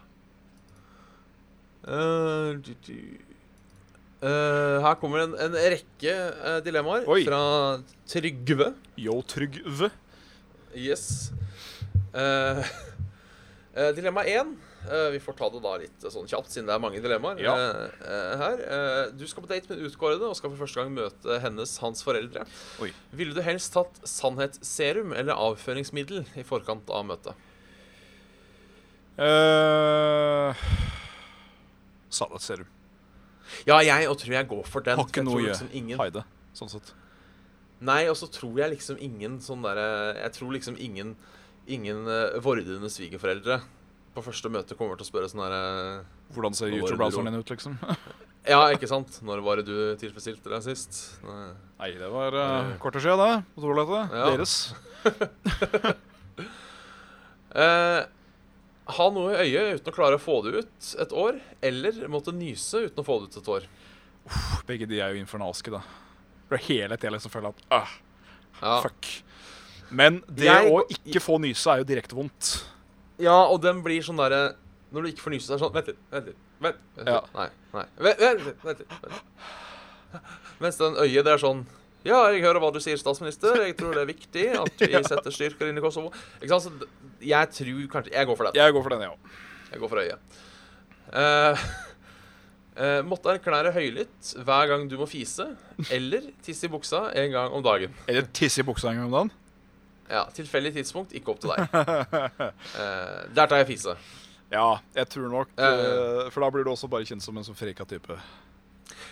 S2: Eh, du, du. Eh, her kommer en, en rekke eh, dilemmaer
S3: Oi.
S2: fra Trygve.
S3: Yo, Trygve.
S2: Yes. Eh, eh, dilemma én. eh, vi får ta det da litt eh, sånn kjapt, siden det er mange dilemmaer
S3: Ja.
S2: eh, eh, her. Eh, du skal på date med en utkårede og skal for første gang møte hennes, hans foreldre.
S3: Oi.
S2: Ville du helst tatt sannhetsserum eller avføringsmiddel i forkant av møtet?
S3: Uh, Salatserum.
S2: Ja, jeg og tror jeg går for den.
S3: Har
S2: for
S3: ikke
S2: jeg
S3: noe å
S2: tror
S3: gjøre.
S2: liksom ingen
S3: Heide, sånn sett.
S2: Nei, og så tror jeg liksom ingen sånn derre Jeg tror liksom ingen Ingen eh, vordende svigerforeldre på på første møte kommer til å spørre sånn herre
S3: Hvordan ser
S2: Nå var det
S3: YouTube-browseren
S2: rolig.
S3: din ut, liksom?
S2: Ja, ikke sant? Når var det du tilfredsstilte deg sist? Nei.
S3: Nei, det var uh, kort og skje, det. På toalettet.
S2: Ja.
S3: Deres.
S2: Eh, ha noe i øyet uten å klare å få det ut et år, eller måtte nyse uten å få det ut et år.
S3: Begge de er jo infernalske, da. For hele tida liksom føler jeg at ah,
S2: Ja,
S3: fuck. Men det
S2: Jeg-
S3: å ikke få nyse er jo direkte vondt.
S2: ja og den blir sånn derre Når du ikke får nyse, så er det sånn Vent litt, vent litt. Vent, vent litt.
S3: Ja.
S2: Nei, nei. Vent, vent litt. vent litt, vent litt. Mens den øyet, det er sånn ja, jeg hører hva du sier, statsminister. Jeg tror det er viktig at vi setter styrker inn i Kosovo. Ikke sant? Så d- jeg tror kanskje Jeg går for den.
S3: Jeg går for den, jeg òg.
S2: Jeg går for øyet. Eh, eh, måtte erklære høylytt hver gang du må fise, eller tisse i buksa en gang om dagen.
S3: Eller tisse i buksa en gang om dagen.
S2: Ja, Tilfeldig tidspunkt, ikke opp til deg. Eh, der tar jeg fise.
S3: Ja, jeg tror nok
S2: Ja, ja,
S3: eh, For da blir du også bare kjent som en sånn frika type.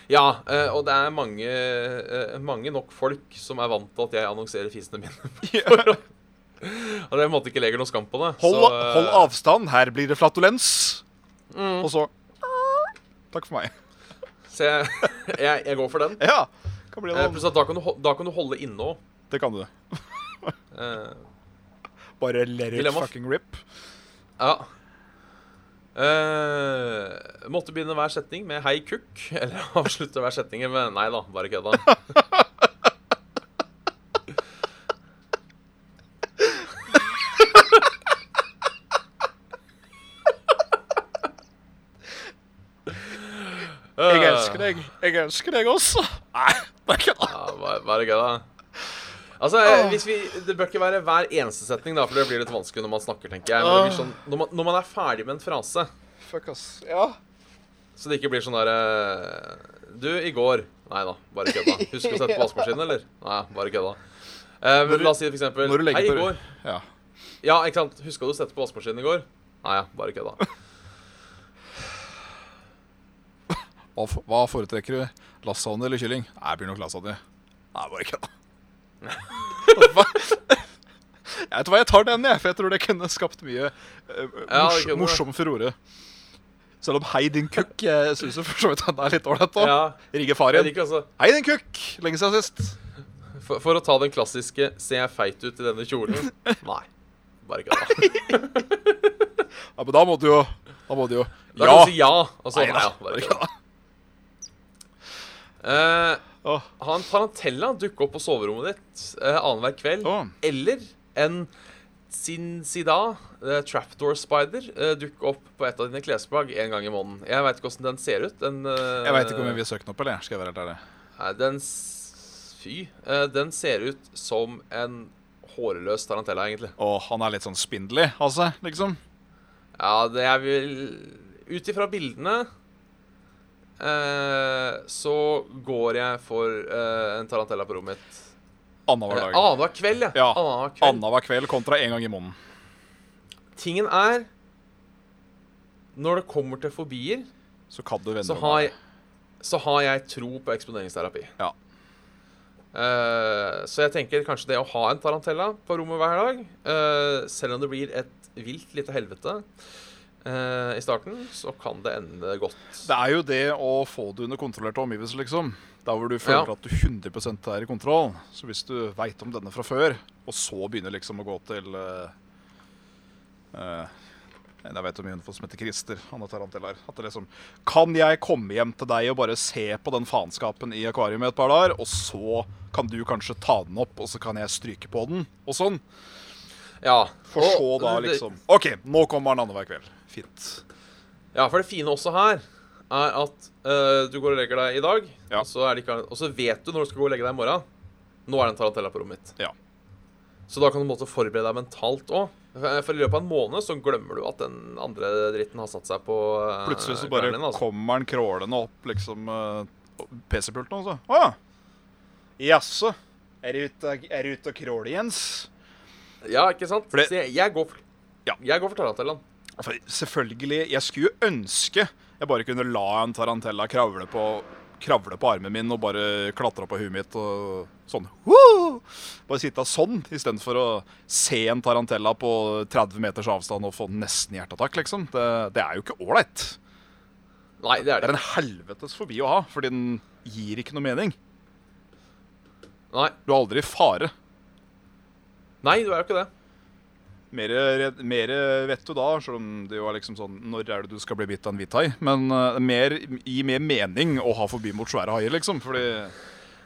S2: Ja, eh, og det er mange, eh, mange nok folk som er vant til at jeg annonserer fisene mine. og det er på en måte ikke legger noe skam på det.
S3: Hold,
S2: så, eh,
S3: hold avstand, her blir det flatulens. Og så Takk for meg.
S2: eh, Så jeg, jeg, jeg går for den.
S3: Ja, kan bli
S2: Eh,
S3: noen.
S2: pluss at da kan du, hol- da kan du holde inne òg.
S3: Det kan du.
S2: Eh,
S3: Bare let it
S2: Dilemma.
S3: fucking rip.
S2: Ja. Eh, måtte begynne hver setning med 'hei, kukk', eller avslutte hver setning med 'nei da, bare kødda'.
S3: Jeg elsker deg. Jeg elsker deg også. Nei, det er ikke det.
S2: Ja, bare, bare kødda. Altså, eh, hvis vi, Det bør ikke være hver eneste setning, da, for det blir litt vanskelig når man snakker. tenker jeg Men det blir sånn, når, man, når man er ferdig med en frase,
S3: Fuck, ass. Ja.
S2: så det ikke blir sånn derre eh, Du, i går Nei da, bare kødda. Husker du å sette på vaskemaskinen, eller? Nei, bare kødda. Eh, men
S3: du-
S2: la oss si for eksempel
S3: Når du
S2: Hei,
S3: legger
S2: i
S3: på
S2: går.
S3: Ja.
S2: Ja, ikke sant? Huska du å sette på vaskemaskinen i går? Nei, ja, bare kødda.
S3: Hva, f- hva foretrekker du? Lasagne eller kylling? Nei, det blir nok lasagne. Nei, bare kødda. Hva? Jeg vet hva, jeg tar den, jeg, for jeg tror det kunne skapt mye eh,
S2: Ja, det
S3: mors
S2: kunne det.
S3: morsom furore. Selv om 'Hei, din kukk' Jeg syns jo for så vidt han er litt ålreit òg.
S2: Ja,
S3: Rigge
S2: jeg
S3: faren.
S2: liker altså
S3: Hei, din kukk! Lenge siden sist.
S2: for, for å ta den klassiske 'ser jeg feit ut i denne kjolen'? Nei, bare kødda.
S3: Ja, men da må du jo Da må du jo
S2: Da kan du si ja, og så
S3: Nei
S2: nei,
S3: da,
S2: ja, bare kødda. Eh,
S3: Åh.
S2: ha en parentella dukke opp på soverommet ditt eh, annenhver kveld.
S3: Åh.
S2: Eller en Sinsida eh, Trapdoor Spider eh, dukke opp på et av dine klesplagg en gang i måneden. Jeg veit ikke åssen den ser ut. Den, eh,
S3: Jeg veit ikke om jeg vil søke den opp, eller? Skal jeg være helt ærlig?
S2: Nei, den s- Fy. Eh, Den ser ut som en hårløs tarantella, egentlig.
S3: Og han er litt sånn spindelig av seg, liksom.
S2: Ja, det jeg vil Ut ifra bildene eh, så går jeg for eh, en tarantella på rommet mitt.
S3: Annenhver
S2: Eh,
S3: dag.
S2: Annenhver kveld, ja.
S3: Ja,
S2: Annenhver kveld.
S3: Annenhver kveld kontra én gang i måneden.
S2: Tingen er Når det kommer til fobier,
S3: Så kan du
S2: så
S3: vende
S2: har jeg, så har jeg tro på eksponeringsterapi.
S3: Ja.
S2: Eh, så jeg tenker kanskje det å ha en tarantella på rommet hver dag, eh, selv om det blir et vilt lite helvete eh, i starten, så kan det ende godt.
S3: Det er jo det å få det under kontrollerte omgivelser, liksom. Der hvor du føler
S2: Ja.
S3: at du 100 er i kontroll. Så hvis du veit om denne fra før, og så begynner liksom å gå til eh, eh, en jeg vet om hun som heter Christer. Han er taranteller. At det liksom Kan jeg komme hjem til deg og bare se på den faenskapen i akvariet med et par dager, og så kan du kanskje ta den opp, og så kan jeg stryke på den, og sånn?
S2: Ja.
S3: For så
S2: og
S3: da
S2: det-
S3: liksom OK, nå kommer han annenhver kveld. Fint.
S2: Ja, for det fine også her er at eh, du går og legger deg i dag,
S3: Ja.
S2: og, så er det ikke, og så vet du når du skal gå og legge deg i morgen. Nå er det en tarantella på rommet mitt.
S3: Ja.
S2: Så da kan du på en måte forberede deg mentalt òg. For i løpet av en måned så glemmer du at den andre dritten har satt seg på eh,
S3: Plutselig så bare
S2: klærne dine, altså.
S3: kommer han krålende opp liksom eh, PC-pulten, altså. Å ja. Jaså. Er du ute er du ute og kråler, Jens?
S2: Ja, ikke sant?
S3: For det-
S2: Så jeg, jeg går for,
S3: Ja.
S2: jeg går for tarantellaen.
S3: Altså, selvfølgelig. Jeg skulle jo ønske jeg bare kunne la en tarantella kravle på, kravle på armen min og bare klatre opp på huet mitt og sånn. Woo! Bare sitte sånn istedenfor å se en tarantella på 30 meters avstand og få nesten hjerteattakk, liksom. Det, det er jo ikke ålreit.
S2: Nei, det er det
S3: Det er en helvetes fobi å ha, fordi den gir ikke noe mening.
S2: ikke. Nei,
S3: Du er aldri i fare.
S2: nei du er jo ikke det.
S3: Mer, red- mer vet du da, selv om det jo er liksom sånn Når er det du skal bli bitt av en hvithai? Men eh, mer, gi mer mening å ha fobi mot svære haier, liksom. Fordi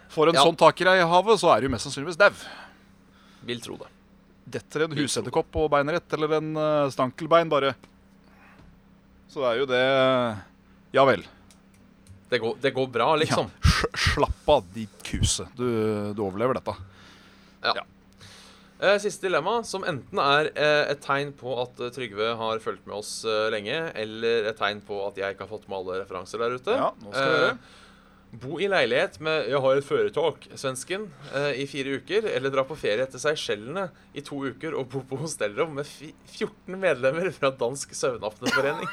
S3: får en
S2: Ja.
S3: sånn tak i deg i havet, så er du mest sannsynligvis dau.
S2: Vil tro det.
S3: Detter en husedderkopp på beinet ditt, eller en eh, stankelbein, bare. Så det er jo det Ja vel.
S2: Det går, det går bra, liksom.
S3: Ja, sj- slapp av, ditt kuse. Du, du overlever dette.
S2: Eh, Siste dilemma, som enten er eh, et tegn på at eh, Trygve har fulgt med oss eh, lenge, eller et tegn på at jeg ikke har fått med alle referanser der ute. Eh,
S3: Ja, nå skal vi høre.
S2: bo i leilighet med 'jeg har et føretak', svensken, eh, i fire uker, eller dra på ferie til Seychellene i to uker og bo på hostellrom med fi 14 medlemmer fra Dansk Søvnapneforening.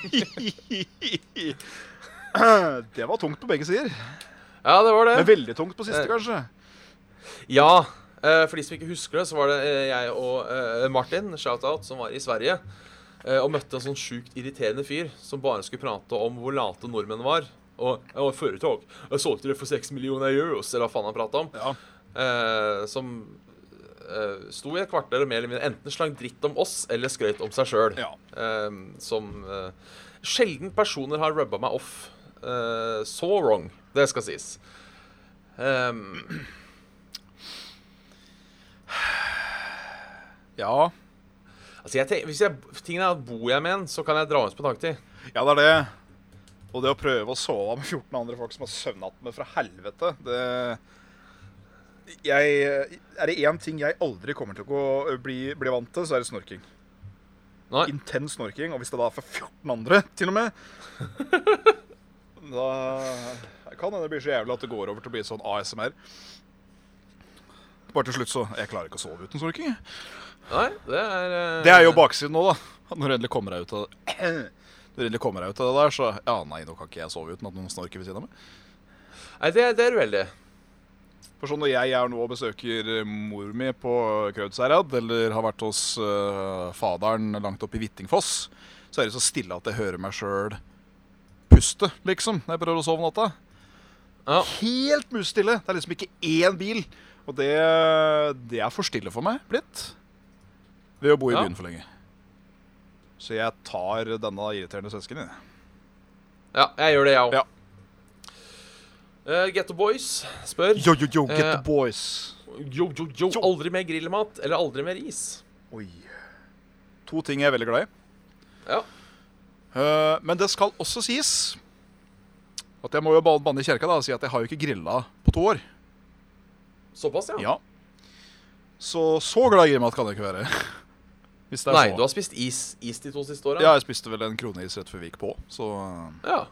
S3: Det var tungt på begge sider.
S2: Ja, det var det.
S3: Men veldig tungt på siste,
S2: Eh.
S3: kanskje.
S2: Ja, eh, for de som ikke husker det, så var det eh, jeg og eh, Martin, shoutout, som var i Sverige. eh, Og møtte en sånn sjukt irriterende fyr som bare skulle prate om hvor late nordmenn var. Og, og foretak. Jeg solgte det for 6 millioner euros, eller hva faen han prata om.
S3: Ja.
S2: Eh, som eh, sto i et kvarter mer eller mindre enten slang dritt om oss eller skrøt om seg sjøl.
S3: Ja.
S2: Eh, som eh, sjelden personer har rubba meg off eh, så wrong. Det skal sies. Eh,
S3: ja.
S2: Altså, jeg tenker, hvis jeg, tingen er at bor jeg med en, så kan jeg dra ut på dagtid.
S3: Ja, det er det. Og det å prøve å sove med 14 andre folk som har søvnatme fra helvete, det jeg, Er det én ting jeg aldri kommer til å gå- bli, bli vant til, så er det snorking.
S2: Nei,
S3: Intens snorking. Og hvis det da er for 14 andre, til og med Da kan hende det blir så jævlig at det går over til å bli sånn ASMR. Bare til slutt, så Jeg klarer ikke å sove uten snorking. jeg.
S2: nei, det er eh,
S3: Det er jo baksiden nå, da. Når du endelig kommer deg ut av Når du endelig kommer deg ut av det der, så Ja, nei, nå kan ikke jeg sove uten at noen snorker ved siden av meg.
S2: Nei, det, det er uheldig.
S3: For sånn når jeg er nå og besøker eh, mor mi på Kraudsherad, eller har vært hos eh, faderen langt oppe i Hvittingfoss, så er det så stille at jeg hører meg sjøl puste, liksom, når jeg prøver å sove om natta.
S2: Ja.
S3: Helt musestille. Det er liksom ikke én bil. Og det, det er for stille for meg blitt ved å bo i
S2: Ja.
S3: byen for lenge. Så jeg tar denne irriterende svensken din.
S2: ja, jeg gjør det, jeg òg.
S3: Ja.
S2: Getto Boys spør
S3: Yo, yo, yo, get
S2: Eh,
S3: the boys.
S2: jo, jo, jo,
S3: Jo.
S2: aldri mer grillmat eller aldri mer is.
S3: Oi. To ting jeg er veldig glad i.
S2: Ja.
S3: Eh, men det skal også sies at jeg må jo ba- banne i kjerka da, og si at jeg har jo ikke grilla på to år.
S2: Såpass, ja.
S3: Ja. Så så glad i mat kan jeg ikke være. Hvis det er
S2: Nei,
S3: så.
S2: du har spist is, is de to siste åra?
S3: Ja, jeg spiste vel en kroneis rett før vi gikk på, så eh,
S2: ja.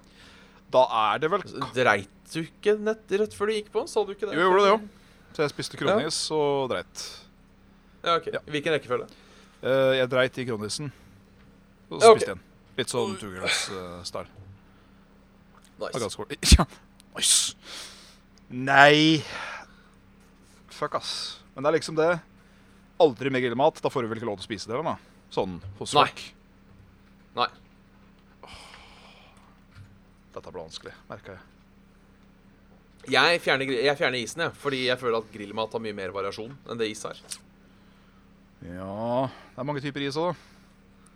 S3: da er det vel
S2: Så Dreit du ikke nett rett før du gikk på? Sa du ikke det?
S3: Jo, jeg gjorde det, jo. Så jeg spiste kroneis og dreit.
S2: Ja, ok.
S3: Ja.
S2: Hvilken rekkefølge?
S3: Eh, jeg dreit i kronisen,
S2: Ja,
S3: og så
S2: ok.
S3: spiste jeg en. Litt sånn tuglass-style. Det var
S2: Nice.
S3: ganske ordentlig. Ja. Nice. Nei. Fuck, ass. Men det er liksom det. Aldri mer grillmat. Da får du vel ikke lov til å spise det? da? Sånn hos
S2: Nei.
S3: folk.
S2: Nei.
S3: Dette ble vanskelig, merka jeg.
S2: Jeg fjerner, gri- jeg fjerner isen, jeg, fordi jeg føler at grillmat har mye mer variasjon enn det is har.
S3: Ja Det er mange typer is òg, da.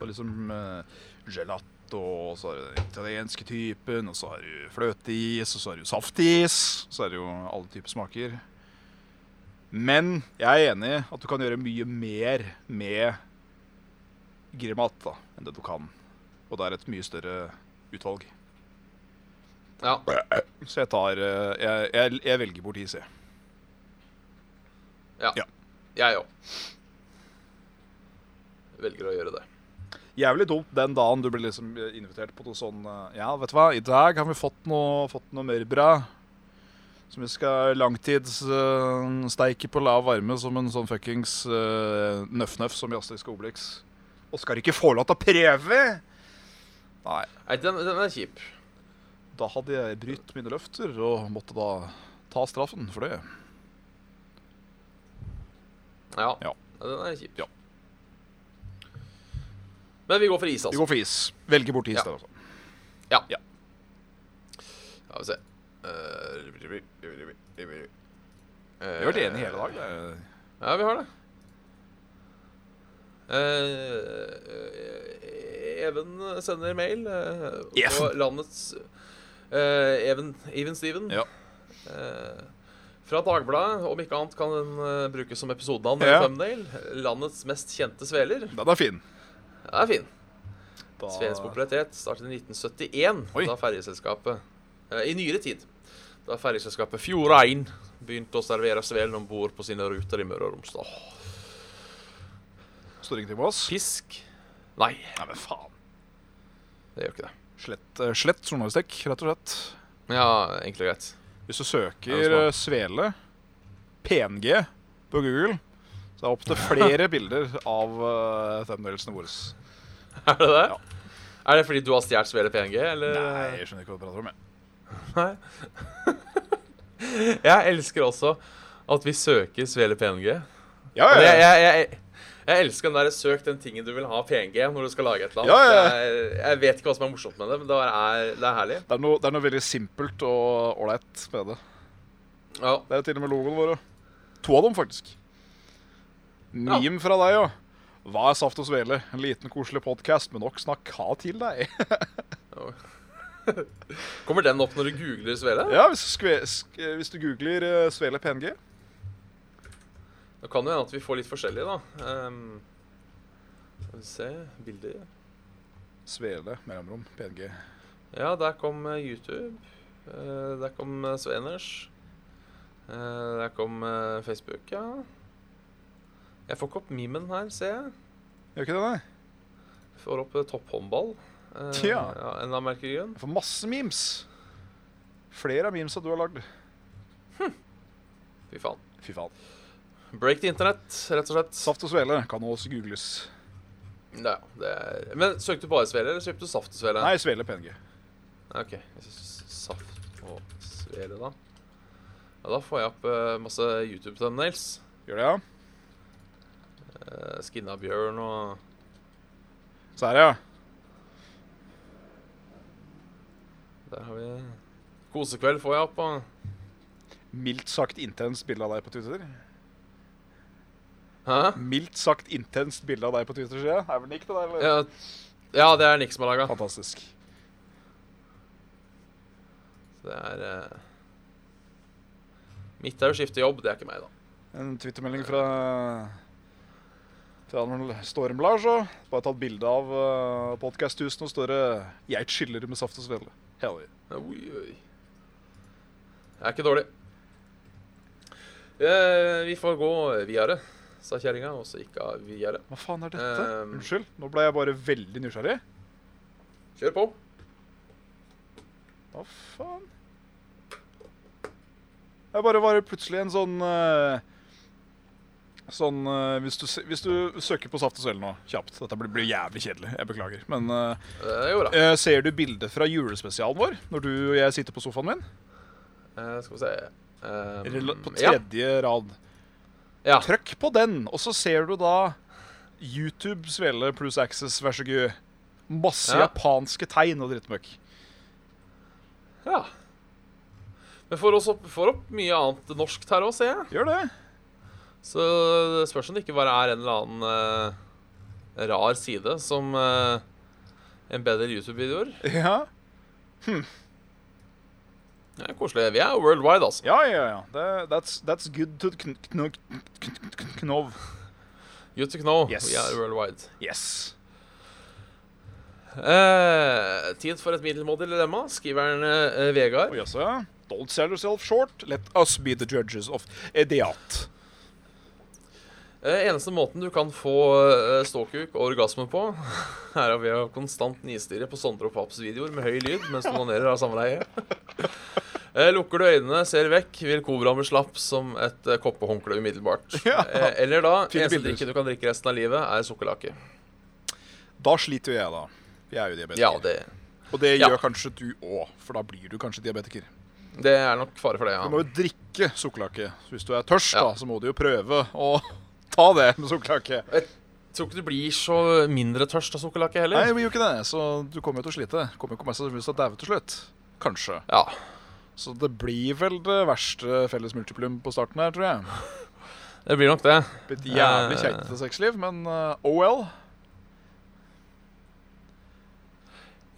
S3: Det er liksom eh, gelato, og så har du den italienske typen, og så har du fløteis, og så har du saftis. Så er det jo alle typer smaker. Men jeg er enig i at du kan gjøre mye mer med grillmat da, enn det du kan. Og det er et mye større utvalg.
S2: Ja.
S3: Så jeg tar eh, Jeg, jeg, jeg velger bort is, jeg.
S2: Ja.
S3: Ja.
S2: Jeg òg. Velger å gjøre det.
S3: Jævlig dumt den dagen du blir liksom invitert på noe sånn eh, Ja, vet du hva, i dag har vi fått noe, fått noe mørbra som vi skal langtidssteike på lav varme som en sånn fuckings eh, nøff-nøff som i Asterix og Obelix. Og skal du ikke få lov til å prøve? Nei.
S2: Nei, den, den er kjip.
S3: Da hadde jeg brytt mine løfter og måtte da ta straffen for det.
S2: Ja.
S3: Ja.
S2: Den er kjip.
S3: Ja.
S2: Men vi går for is,
S3: Vi
S2: altså.
S3: går for is. Velger bort is
S2: Ja.
S3: der, altså.
S2: Ja.
S3: Ja.
S2: Ja, vi se. Eh,
S3: Vi har vært enige hele dag. det er-
S2: Ja, vi har det. Eh, eh, Even sender mail eh, på
S3: Even.
S2: landets eh, Even, Even Steven.
S3: Ja.
S2: Eh, fra Dagbladet, om ikke annet kan den eh, brukes som episodenavn.
S3: Ja.
S2: eller thumbnail. Landets mest kjente sveler.
S3: Den er fin.
S2: Den er fin.
S3: Da-
S2: Svelens popularitet startet i 1971,
S3: Ah. Oi.
S2: da ferjeselskapet eh, I nyere tid. Da ferjeselskapet Fjordein begynte å servere svelen om bord på sine ruter i Møre og Romsdal.
S3: Står det ingenting på oss?
S2: Pisk? Nei,
S3: Nei, men faen.
S2: det gjør ikke det.
S3: Slett, eh, slett journalistikk, rett og slett.
S2: Ja, enkelt og greit.
S3: Hvis du
S2: Ja,
S3: søker
S2: det er
S3: eh, svele, PNG, på Google, så er det opp til flere bilder av uh, thumbnailsene våre.
S2: Er det det?
S3: Ja.
S2: Er det fordi du har stjålet svele PNG, eller?
S3: Nei, jeg skjønner ikke hva du prater om. jeg.
S2: Jeg elsker også at vi søker svele PNG.
S3: Ja,
S2: Og
S3: ja,
S2: Jeg,
S3: ja.
S2: jeg, jeg, jeg elsker den der 'søk den tingen du vil ha PNG' når du skal lage et eller annet.
S3: Ja, ja, ja.
S2: Det er- Jeg, vet ikke hva som er morsomt med det, men det er, det er herlig.
S3: Det, er noe, det er noe veldig simpelt og ålreit med det.
S2: Ja.
S3: Det er til og med logoen vår. og To av dem, faktisk. Meme fra deg òg. Hva er Saft og Svele? En liten koselig podkast med nok snakk ha til deg.
S2: Kommer den opp når du googler svele?
S3: Ja, Hvis du, skve, sk, eh, hvis du googler eh, Svele PNG
S2: Det kan jo hende at vi får litt forskjellige, da. Ehm, skal vi se Bilder.
S3: Svele mellomrom PNG.
S2: Ja, der kom eh, YouTube. Eh, der kom eh, Sveners. Eh, der kom eh, Facebook, ja. Jeg får ikke opp memen her, ser jeg.
S3: Gjør ikke det, nei?
S2: Får opp eh, topphåndball. Eh, ja,
S3: Tja.
S2: en eller annen merkelig grunn.
S3: Jeg får masse memes. Flere av memesa du har lagd.
S2: Fy faen.
S3: Fy faen.
S2: Break the internet, rett og slett.
S3: Saft og Svele kan også googles.
S2: Ja, det er... Men søkte du bare svele, E eller søkte du saft og svele?
S3: Nei, Svele PNG.
S2: Ok, jeg synes saft og svele, da. Ja, da får jeg opp eh, masse YouTube-thumbnails.
S3: Gjør det, ja?
S2: Uh, skinna bjørn og
S3: Så er det, ja.
S2: Der har vi Kosekveld får jeg opp. Og...
S3: Mildt sagt intenst bilde av deg på Twitter.
S2: Hæ?
S3: Mildt sagt intenst bilde av deg på Twitter, sier jeg. Er vel Nick, det der? eller?
S2: Ja, ja, det er Nick som har laga.
S3: Fantastisk.
S2: Det er eh, Mitt er å skifte jobb, det er ikke meg, da.
S3: En twittermelding fra fra Arnold Storm Lars. Og bare tatt bilde av uh, podkasthusen, og står det 'Jeg chiller med saft og svele'. Hell yeah.
S2: Oi, oi. Jeg er ikke dårlig. Eh, vi får gå videre, sa kjerringa, og så gikk hun videre.
S3: Hva faen er dette?
S2: Um.
S3: Unnskyld, nå ble jeg bare veldig nysgjerrig.
S2: Kjør på.
S3: Hva faen? Jeg bare var plutselig en sånn eh, Sånn eh, hvis, du, se- hvis du søker på Saft og Svele nå, kjapt Dette blir, blir jævlig kjedelig, jeg beklager. Men eh,
S2: Eh, jo da.
S3: eh, ser du bildet fra julespesialen vår, når du og jeg sitter på sofaen min?
S2: Eh, skal vi se Eh,
S3: Rela- På
S2: ja.
S3: tredje rad.
S2: ja.
S3: Trykk på den, og så ser du da YouTube Svele pluss Access, vær så god. Masse
S2: Ja.
S3: japanske tegn og drittmøkk.
S2: ja. Men får, også, får opp mye annet norskt her òg, ser jeg.
S3: Gjør det.
S2: Så det spørs om det ikke bare er en eller annen eh, rar side som eh, embedder YouTube-videoer.
S3: Ja,
S2: Det er koselig. Vi er worldwide, altså.
S3: ja, ja. ja. Det, that's, that's good to kn kn kn kn kn knov.
S2: Good to know.
S3: Yes.
S2: We are worldwide.
S3: Yes.
S2: Eh, tid for et middelmådig dilemma. Skriveren eh, Vegard.
S3: Og jaså, altså, ja. Don't sell yourself short. Let us be the judges of idiot.
S2: Eh, eneste måten du kan få eh, ståkuk og orgasme på, er ved å konstant nistirre på Sondre og Paps videoer med høy lyd mens du onanerer av samleie. Eh, lukker du øynene, ser vekk, vil kobraen bli slapp som et eh, koppehåndkle umiddelbart.
S3: Ja.
S2: Eh, eller da,
S3: Fine
S2: eneste
S3: bilder.
S2: drikke du kan drikke resten av livet, er sukkerlake.
S3: Da sliter jo jeg, da. Jeg er jo diabetiker.
S2: Ja, det,
S3: og det
S2: ja.
S3: gjør kanskje du òg, for da blir du kanskje diabetiker.
S2: det er nok fare for det, ja.
S3: Du må jo drikke sukkerlake. Så Hvis du er tørst,
S2: Ja.
S3: da, så må du jo prøve å ta det med sukkerlake.
S2: Tror ikke du blir så mindre tørst av sukkerlake
S3: Nei,
S2: heller.
S3: det blir jo ikke det, så du kommer jo til å slite. Kommer jo mest sannsynligvis til å daue til slutt. Kanskje.
S2: Ja.
S3: Så det blir vel det verste felles multiplum på starten her, tror jeg.
S2: Det blir nok det.
S3: Litt jævlig
S2: Eh.
S3: keitete sexliv, men eh, oh well.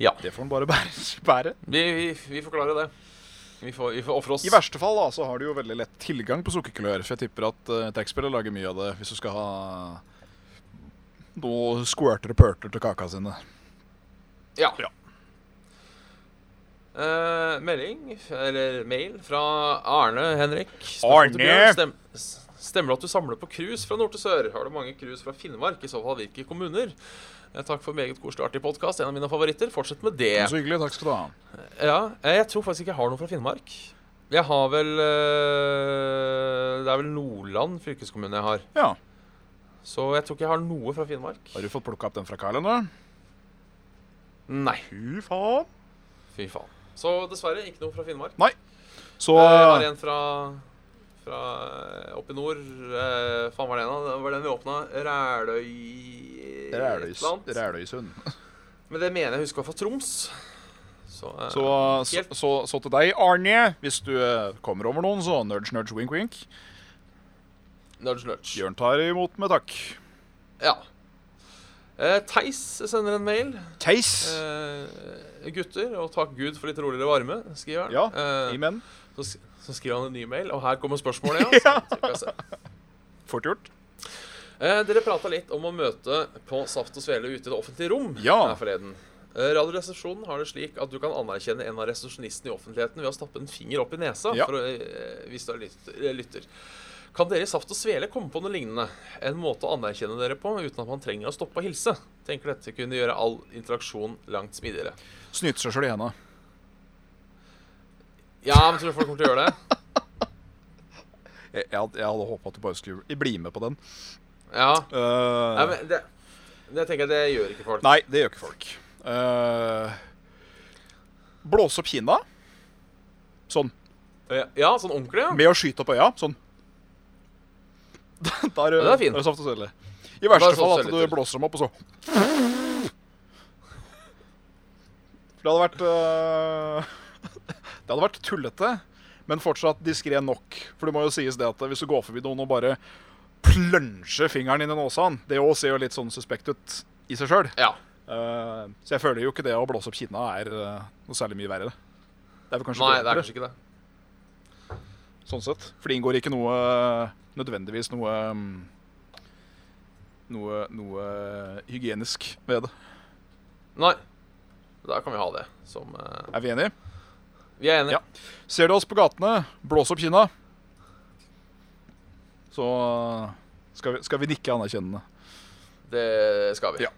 S2: Ja.
S3: Det får en bare bære. bære.
S2: Vi, vi, vi får klare det. Vi får, vi får ofre oss.
S3: I verste fall da, så har du jo veldig lett tilgang på sukkerkulør, for jeg tipper at uh, trekkspillet lager mye av det hvis du skal ha noe squirter og purter til kaka sine.
S2: Ja.
S3: Ja.
S2: Eh, melding, eller mail, fra Arne Henrik.
S3: Arne!
S2: Spørsmål til Bjørn. Stem, s- stemmer det at du samler på krus fra nord til sør? Har du mange krus fra Finnmark? I så fall hvilke kommuner? Eh, Takk for meget koselig artig podkast. En av mine favoritter. Fortsett med det.
S3: Mm, Så hyggelig, takk skal du ha.
S2: Ja, eh, jeg tror faktisk ikke jeg har noe fra Finnmark. Jeg har vel eh, Det er vel Nordland fylkeskommune jeg har.
S3: Ja,
S2: Så jeg tror ikke jeg har noe fra Finnmark.
S3: Har du fått plukka opp den fra Kylan, da?
S2: Nei.
S3: Fy faen.
S2: Fy faen. Så dessverre ikke noe fra Finnmark.
S3: Så
S2: Eh, Det var en fra, fra eh, oppe i nord. Eh, faen var det en av? Det var den vi åpna. Ræløy et eller
S3: Ræløys-
S2: annet.
S3: Ræløysund.
S2: Men det mener jeg husker var fra Troms. Så, eh,
S3: Så, så,
S2: helt-
S3: så, så til deg, Arne, hvis du eh, kommer over noen, så nudge, nudge, wink, wink.
S2: nudge, nudge.
S3: Bjørn tar imot med takk.
S2: Ja. Eh, Theis sender en mail.
S3: Theis.
S2: Eh, gutter, og takk Gud for litt roligere varme, skriver han.
S3: Ja,
S2: Eh,
S3: Amen.
S2: så, sk- så skriver han en ny mail, og her kommer spørsmålet. Ja.
S3: Ja.
S2: Så skal jeg se.
S3: Fort gjort.
S2: Eh, dere prata litt om å møte på Saft og Svele ute i det offentlige rom
S3: Ja.
S2: her forleden. Eh, Radioresepsjonen har det slik at du kan anerkjenne en av resepsjonistene i offentligheten ved å stappe en finger opp i nesa
S3: Ja.
S2: for å, eh, hvis du er lyt- eh, lytter. Kan dere i Saft og Svele komme på noe lignende? En måte å anerkjenne dere på uten at man trenger å stoppe og hilse? Tenker dette kunne gjøre all interaksjon langt smidigere.
S3: Snyter seg sjøl i henda.
S2: Ja, men tror du folk kommer til å gjøre det?
S3: Jeg, jeg hadde- jeg hadde håpa at du bare skulle bli med på den.
S2: Ja.
S3: Eh,
S2: Nei, men det, det tenker jeg det gjør ikke folk.
S3: nei, det gjør ikke folk. Eh, blåse opp kinna. Sånn.
S2: Ja, sånn ordentlig, ja.
S3: Med å skyte opp øya. Sånn. Da er
S2: Ja, det er fint.
S3: da saft og svele. I verste
S2: saft og
S3: fall at
S2: svele
S3: du
S2: til.
S3: blåser dem opp, og så For det hadde vært eh, Det hadde vært tullete, men fortsatt diskré nok. For det må jo sies det at hvis du går forbi noen og bare plønsjer fingeren inn i nåsan, det òg ser jo litt sånn suspekt ut i seg sjøl.
S2: Ja.
S3: så jeg føler jo ikke det å blåse opp kinna er eh, noe særlig mye verre. Det er vel kanskje
S2: Nei,
S3: bedre
S2: det er kanskje ikke det.
S3: sånn sett. For det inngår ikke noe eh, nødvendigvis noe um, noe, noe hygienisk ved det.
S2: Nei. Da kan vi ha det som eh,
S3: Er vi enige?
S2: Vi er enige.
S3: Ja. Ser du oss på gatene, blås opp kinna. Så eh, skal vi, skal vi nikke anerkjennende.
S2: Det skal vi.
S3: Ja.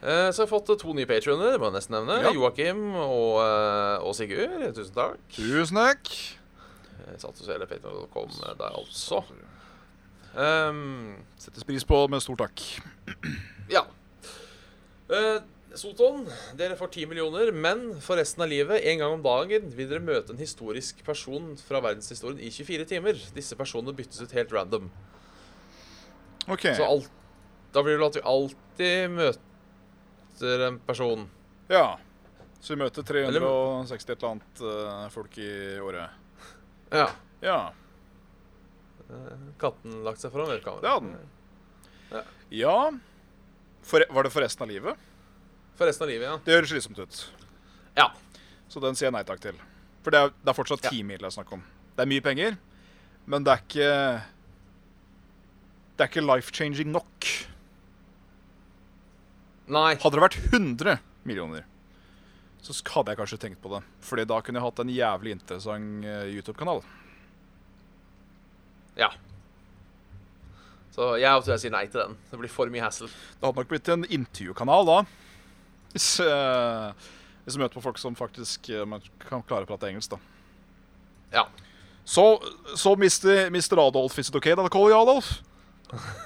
S2: Eh, så jeg har fått eh, to nye patrioner, må jeg nesten nevne.
S3: Ja.
S2: Joakim og, eh, og Sigurd. Tusen takk.
S3: Tusen takk.
S2: Jeg satt og så hele patreon.com der, altså. Ehm,
S3: Settes pris på med stor takk.
S2: Ja. Eh, Soton, dere får 10 millioner, men for resten av livet, en gang om dagen, vil dere møte en historisk person fra verdenshistorien i 24 timer. Disse personene byttes ut helt random.
S3: OK.
S2: Så alt, da blir det vel at vi alltid møter en person.
S3: Ja. Så vi møter 360 et eller annet eh, folk i året.
S2: Ja.
S3: Ja.
S2: Eh, Katten lagt seg foran
S3: Det hadde
S2: webkameraet.
S3: den. Ja for, Var det for resten av livet?
S2: For resten av livet, ja.
S3: Det høres slitsomt ut.
S2: Ja.
S3: Så den sier jeg nei takk til. For det er, det er fortsatt ti mil det er snakk om. Det er mye penger, men det er ikke Det er ikke life-changing nok.
S2: Nei.
S3: Hadde det vært 100 millioner, så sk- hadde jeg kanskje tenkt på det. Fordi da kunne jeg hatt en jævlig interessant eh, YouTube-kanal.
S2: Ja. Så jeg tror jeg sier nei til den. Det blir for mye hassle.
S3: Det hadde nok blitt en intervjukanal da. Hvis, eh, hvis jeg møter på folk som faktisk eh, man kan klare å prate engelsk, da.
S2: Ja.
S3: So, so Mr. Mr. Adolf, is it okay that I call you Adolf?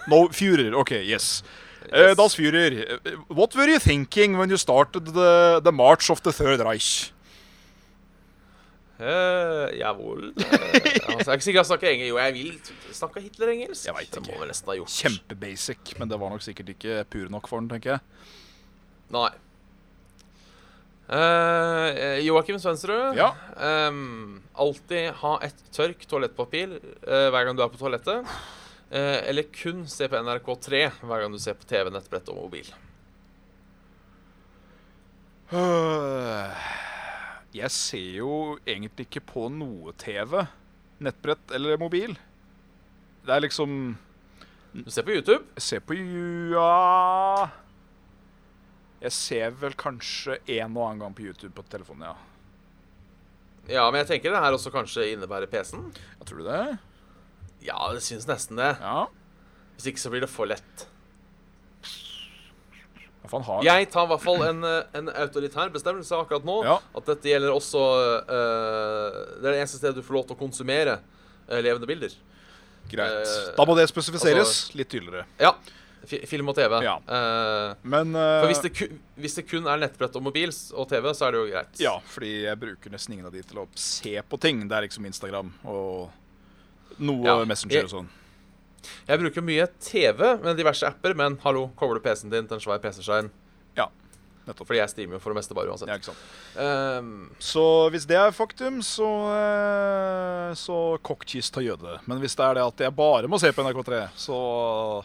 S3: No, Führer, okay, yes. Uh,
S2: Yes.
S3: das Führer, uh, what were you thinking when you started the, the march of the Third Reich?
S2: Eh, jawohl. Eh, altså, jeg er ikke sikker jeg snakker engelsk. Jo, jeg vil snakke Hitler-engelsk.
S3: Jeg vet
S2: Det
S3: ikke.
S2: må vi nesten ha gjort.
S3: Kjempebasic, men det var nok sikkert ikke pur nok for den, tenker jeg.
S2: Nei. Eh, Joakim Svendsrud.
S3: Ja.
S2: Ehm, alltid ha et tørk toalettpapir eh, hver gang du er på toalettet. Eh, eller kun se på NRK3 hver gang du ser på TV, nettbrett og mobil.
S3: Øh, Jeg ser jo egentlig ikke på noe TV, nettbrett eller mobil. Det er liksom Mm.
S2: Du ser på YouTube.
S3: Jeg ser på Ja Jeg ser vel kanskje en og annen gang på YouTube på telefonen, ja.
S2: Ja, men jeg tenker det her også kanskje innebærer PC-en.
S3: ja tror du det?
S2: Ja, det syns nesten det.
S3: Ja.
S2: Hvis ikke så blir det for lett.
S3: Hva faen har
S2: Jeg tar i hvert fall en, eh, en autoritær bestemmelse akkurat nå.
S3: Ja.
S2: At dette gjelder også eh, Det er det eneste stedet du får lov til å konsumere eh, levende bilder.
S3: Greit.
S2: Eh,
S3: Da må det spesifiseres
S2: altså-
S3: litt tydeligere.
S2: Ja. fi- Film og TV.
S3: Ja.
S2: Eh,
S3: Men
S2: for
S3: eh,
S2: hvis det, ku, hvis det kun er nettbrett og mobil s- og TV, så er det jo greit.
S3: Ja, fordi jeg bruker nesten ingen av de til å se på ting. Det er liksom Instagram og noe
S2: Ja, jeg-
S3: Messenger og sånn.
S2: Jeg bruker mye TV med diverse apper, men hallo, kobler du PC-en din til en svær PC-skjerm?
S3: Ja, nettopp.
S2: Fordi jeg streamer jo for det meste bare uansett.
S3: Ja, ikke sant.
S2: Eh,
S3: Så hvis det er faktum, så, eh, så kokkist av jøde. Men hvis det er det at jeg bare må se på NRK3, så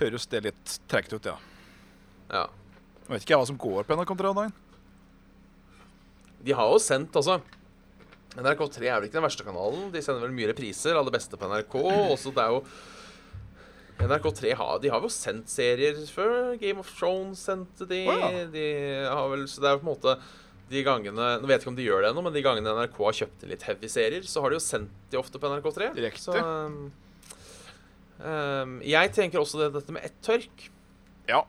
S3: høres det litt tregt ut, ja.
S2: ja.
S3: Jeg vet ikke jeg hva som går på NRK3 om dagen.
S2: De har jo sendt, altså. NRK3 er vel ikke den verste kanalen. De sender vel mye repriser av det beste på NRK. Også det er jo NRK3 har, de har jo sendt serier før. Game of Thrones sendte de.
S3: Å ja.
S2: de har vel, så det er jo på en måte de gangene Nå vet jeg ikke om de gjør det ennå, men de gangene NRK har kjøpt inn litt heavy serier, så har de jo sendt de ofte på NRK3.
S3: Riktig.
S2: Så, um, um, jeg tenker også det, dette med ett tørk
S3: Ja.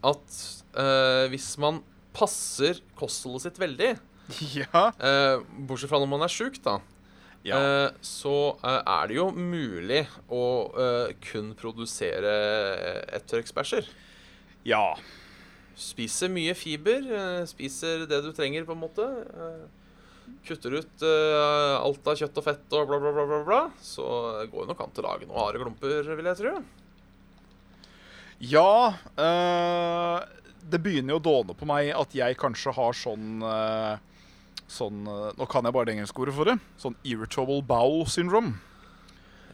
S2: At eh, hvis man passer kostholdet sitt veldig
S3: Ja.
S2: Eh, bortsett fra når man er sjuk, da.
S3: ja.
S2: eh, så eh, er det jo mulig å eh, kun produsere eh, ett tørksbæsjer.
S3: ja.
S2: Spiser mye fiber, eh, spiser det du trenger, på en måte. Eh, kutter ut eh, alt av kjøtt og fett og bla, bla, bla, bla, bla. Så går det nok an til å lage noen harde klumper, vil jeg tro.
S3: Ja eh, Det begynner jo å dåne på meg at jeg kanskje har sånn eh, Sånn eh, Nå kan jeg bare det engelske ordet for det. Sånn irritable bowel syndrome.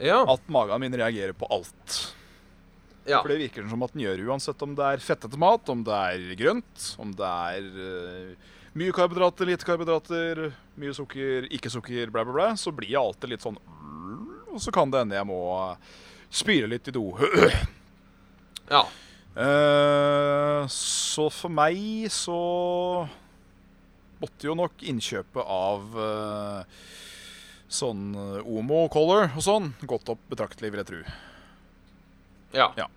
S2: Ja.
S3: At magen min reagerer på alt.
S2: ja.
S3: For det virker som at den gjør uansett om det er fettete mat, om det er grønt, om det er eh, mye karbohydrater, lite karbohydrater, mye sukker, ikke sukker, bla, bla, bla. Så blir jeg alltid litt sånn Og så kan det hende jeg må spyle litt i do.
S2: ja.
S3: Eh, så for meg så måtte jo nok innkjøpet av eh, sånn eh, Omo Color og sånn gått opp betraktelig, vil jeg tro.
S2: Ja.
S3: Ja.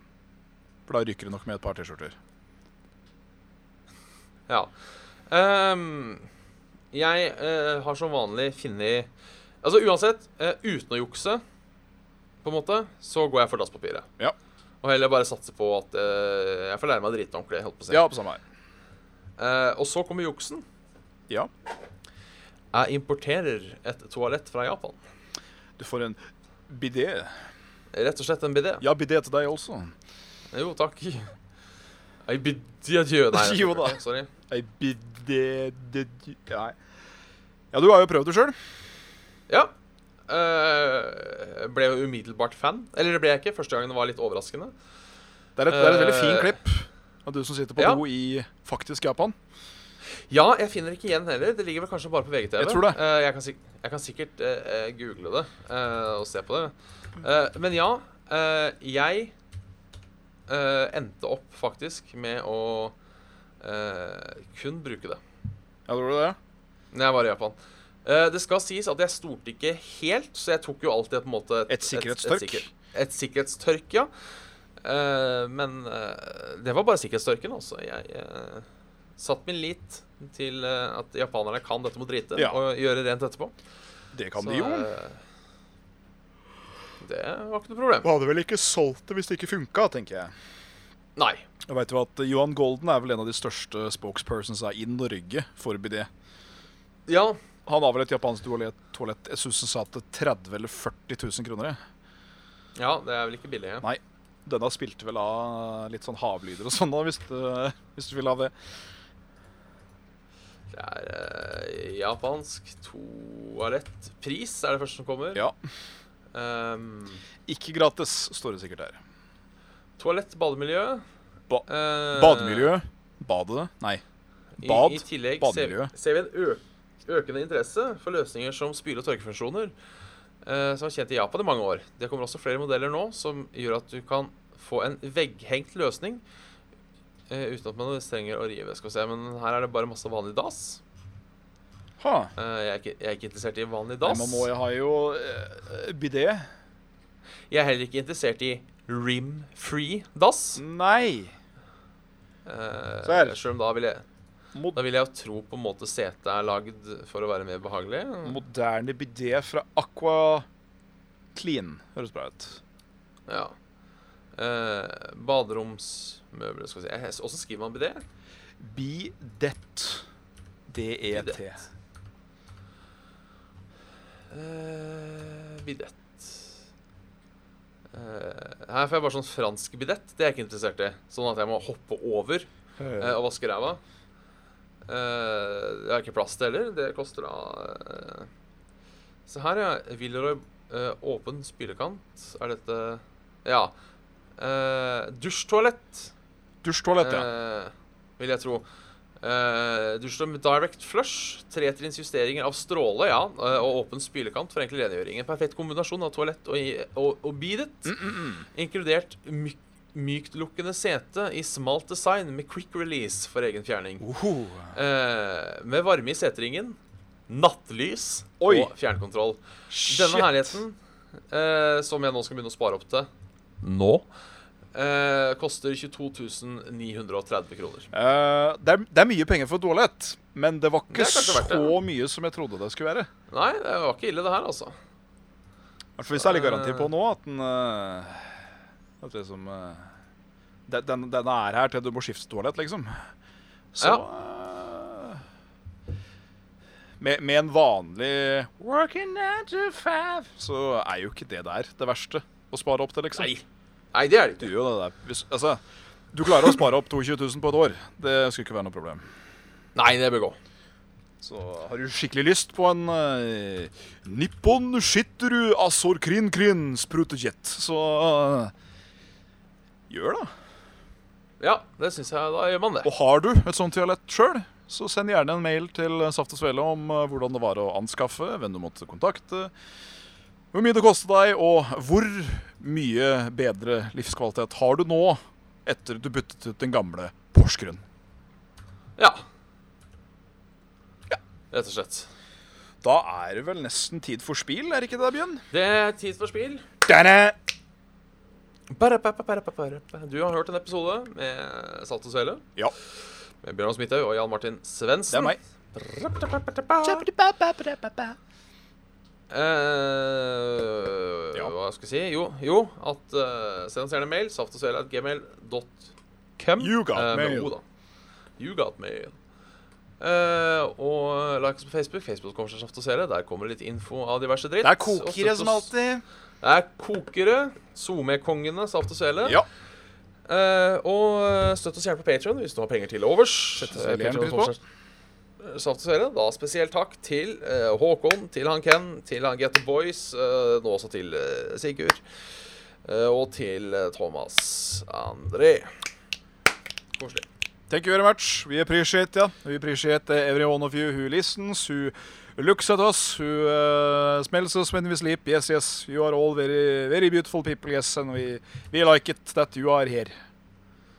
S3: For da rykker det nok med et par T-skjorter.
S2: Ja. Ehm, jeg eh, har som vanlig funnet Altså uansett, eh, uten å jukse, på en måte, så går jeg for dasspapiret.
S3: Ja.
S2: Og heller bare satse på at eh, jeg får lære meg å drite meg ordentlig. Holdt på å si.
S3: Ja, på samme her.
S2: Eh, og så kommer juksen.
S3: Ja.
S2: Jeg importerer et toalett fra Japan.
S3: Du får en bidé.
S2: Rett og slett en bidé.
S3: Ja, bidé til deg også.
S2: Jo, takk. Ei bidé adjø. Nei, jeg
S3: Jo
S2: skjønner
S3: da.
S2: ikke. Sorry.
S3: Ei bidé de- de- Nei. Ja, du har jo prøvd det sjøl.
S2: Ja. Eh, ble jo umiddelbart fan. Eller det ble jeg ikke. Første gangen var litt overraskende.
S3: Det, er et- det er et veldig
S2: Eh.
S3: fin klipp av du som sitter på
S2: Ja.
S3: do i faktisk Japan.
S2: Ja, jeg finner ikke igjen heller. Det ligger vel kanskje bare på VGTV.
S3: Jeg tror det.
S2: Eh, jeg, kan sik jeg kan sikkert eh, eh, google det eh, og se på det. Eh, men ja, eh, jeg eh, endte opp faktisk med å eh, kun bruke det
S3: Ja, tror du det?
S2: når jeg var i Japan. Eh, det skal sies at jeg stolte ikke helt, så jeg tok jo alltid på en måte
S3: Et sikkerhetstørk.
S2: Et, sikker- et sikkerhetstørk, ja. Eh, men eh, det var bare sikkerhetstørken, altså. Jeg uh, satte min lit til eh, at japanerne kan dette med å drite
S3: Ja.
S2: og gjøre rent etterpå.
S3: Det kan
S2: Så,
S3: de jo.
S2: eh, det var ikke noe problem.
S3: Du hadde vel ikke solgt det hvis det ikke funka, tenker jeg.
S2: Nei.
S3: Jeg vet jo at Johan Golden er vel en av de største spokespersons av i Norge for BD.
S2: Ja,
S3: Han har vel et japansk toalett, toalett. Jeg syns han sa til 30 eller 40 000 kroner. jeg.
S2: Ja, det er vel ikke billig. Ja.
S3: Nei, denne spilte vel av litt sånn havlyder og sånn, da, hvis du, hvis du vil ha det.
S2: Det er eh, japansk toalett. Pris er det første som kommer.
S3: Ja.
S2: Ehm,
S3: Ikke gratis, står det sikkert her.
S2: toalett, bademiljø.
S3: Ba
S2: Eh,
S3: bademiljø. Badet. Nei.
S2: I,
S3: Bad.
S2: I tillegg
S3: Bademiljø.
S2: ser, ser vi en øk, økende interesse for løsninger som spyle- og tørkefunksjoner, eh, som er kjent i Japan i mange år. Det kommer også flere modeller nå som gjør at du kan få en vegghengt løsning eh, uten at man trenger å rive. Skal vi se, Men her er det bare masse vanlig dass.
S3: Ha.
S2: Eh, jeg, er ikke, jeg er ikke interessert i vanlig
S3: Nei,
S2: dass.
S3: man må jo ha jo eh, bidé.
S2: Jeg er heller ikke interessert i rim-free dass.
S3: Nei.
S2: Eh,
S3: Mm. Så her.
S2: Selv om da vil jeg
S3: Mod
S2: Da vil jeg jo tro på en måte setet er lagd for å være mer behagelig.
S3: moderne bidé fra Aqua Clean. Høres bra ut.
S2: Ja. Eh, baderomsmøbler, skal vi si. Eh, Hvordan skriver man bidé?
S3: Bidett. D-E-T.
S2: Bidett. Eh, bidett eh, Her får jeg bare sånn fransk bidett. Det er jeg ikke interessert i. Sånn at jeg må hoppe over eh, og vaske ræva. Eh, jeg har ikke plass til heller. Det koster da eh. Se her, ja. Villeroy eh, åpen spylekant. Er dette Ja. Eh, dusjtoalett.
S3: Dusjtoalett, ja.
S2: eh, vil jeg tro. Eh, dusj med direct flush, tretrinns justeringer av stråle ja, eh, og åpen spylekant for enkel rengjøring. En perfekt kombinasjon av toalett og, i- og, og bidet,
S3: Mm,
S2: inkludert myk, myklukkende sete i smalt design med quick release for egen fjerning.
S3: Oho.
S2: Eh, med varme i seteringen, nattlys
S3: Oi.
S2: og fjernkontroll.
S3: Shit.
S2: Denne herligheten, eh, som jeg nå skal begynne å spare opp til nå, eh, koster 22 930 kroner.
S3: Eh, det, er, det er mye penger for et toalett, men det var ikke
S2: Det er kanskje
S3: så
S2: verdt det,
S3: mye som jeg trodde det skulle være.
S2: Nei, det var ikke ille, det her, altså.
S3: Hvertfall hvis det er litt garanti på nå at den eh, At det som eh, den, den, den er her til du må skifte toalett, liksom. Så eh, med, med en vanlig Working nine to five så er jo ikke det der det verste å spare opp til, liksom.
S2: Nei. Nei, det er det
S3: Du
S2: ikke.
S3: gjør jo det der. Hvis, altså, du klarer å spare opp 22 000 på et år. Det skulle ikke være noe problem.
S2: Nei, det bør gå.
S3: Så har du skikkelig lyst på en eh, Nippon Shitteru Azor Krin Krin sprutejet, så eh, gjør det.
S2: Ja, det syns jeg. Da gjør man det.
S3: Og har du et sånt dialett sjøl, så send gjerne en mail til Saft og Svele om eh, hvordan det var å anskaffe, hvem du måtte kontakte, hvor mye det kostet deg, og hvor mye bedre livskvalitet har du nå etter du byttet ut den gamle Porsgrunn.
S2: Ja. Rett og slett.
S3: Da er det vel nesten tid for spil, er det ikke det, Bjørn?
S2: Det er tid for spill.
S3: Da-da!
S2: Ba-ra-ba-ba-ba-ra-ba-ba-ra-ba. Du har hørt en episode med Salt og Svele.
S3: Ja.
S2: Med Bjørnar Smithaug og Jan Martin Svendsen.
S3: Det er meg.
S2: Eh,
S3: Ja.
S2: Hva skal jeg si? Jo, jo at eh, send oss gjerne mail. Saftogsvele.gmail.com.
S3: You got
S2: eh, med
S3: mail.
S2: O, da. You got mail. Eh, og like oss på Facebook. Facebook kommer seg Saft og Svele. Der kommer det litt info av diverse dritt.
S3: Det er
S2: Og
S3: kokere
S2: støtt
S3: som
S2: oss-
S3: alltid.
S2: Det er kokere. SoMe-kongene Saft og Svele.
S3: Ja.
S2: Eh, og eh, støtt oss gjerne på Patreon hvis du har penger til overs.
S3: oss veldig gjerne pris på.
S2: Eh, Saft og Svele, da spesielt takk til eh, Håkon, til han Ken, til han Get The Boys, eh, nå også til eh, Sigurd. eh, og til eh, Thomas André. Koselig.
S3: Thank you very much. We appreciate ya. We appreciate eh, every one of you who listens, who looks at us, who uh, smells us when we sleep. Yes, yes. You are all very, very beautiful people, yes. And we, we like it that you are here.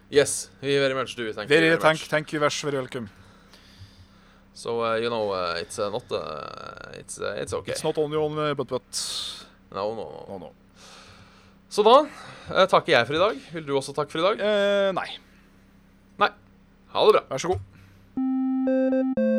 S2: Yes, we very much do. Thank you
S3: Very,
S2: very
S3: thank,
S2: much.
S3: thank you, very, very welcome.
S2: So uh, you know, uh, it's uh, not uh, it's, uh, it's okay.
S3: It's not only on, but, but.
S2: No, no, no.
S3: No, no.
S2: Så da eh, takker jeg for i dag. Vil du også takke for i dag?
S3: Eh, nei.
S2: Nei. Ha det bra.
S3: Vær så god.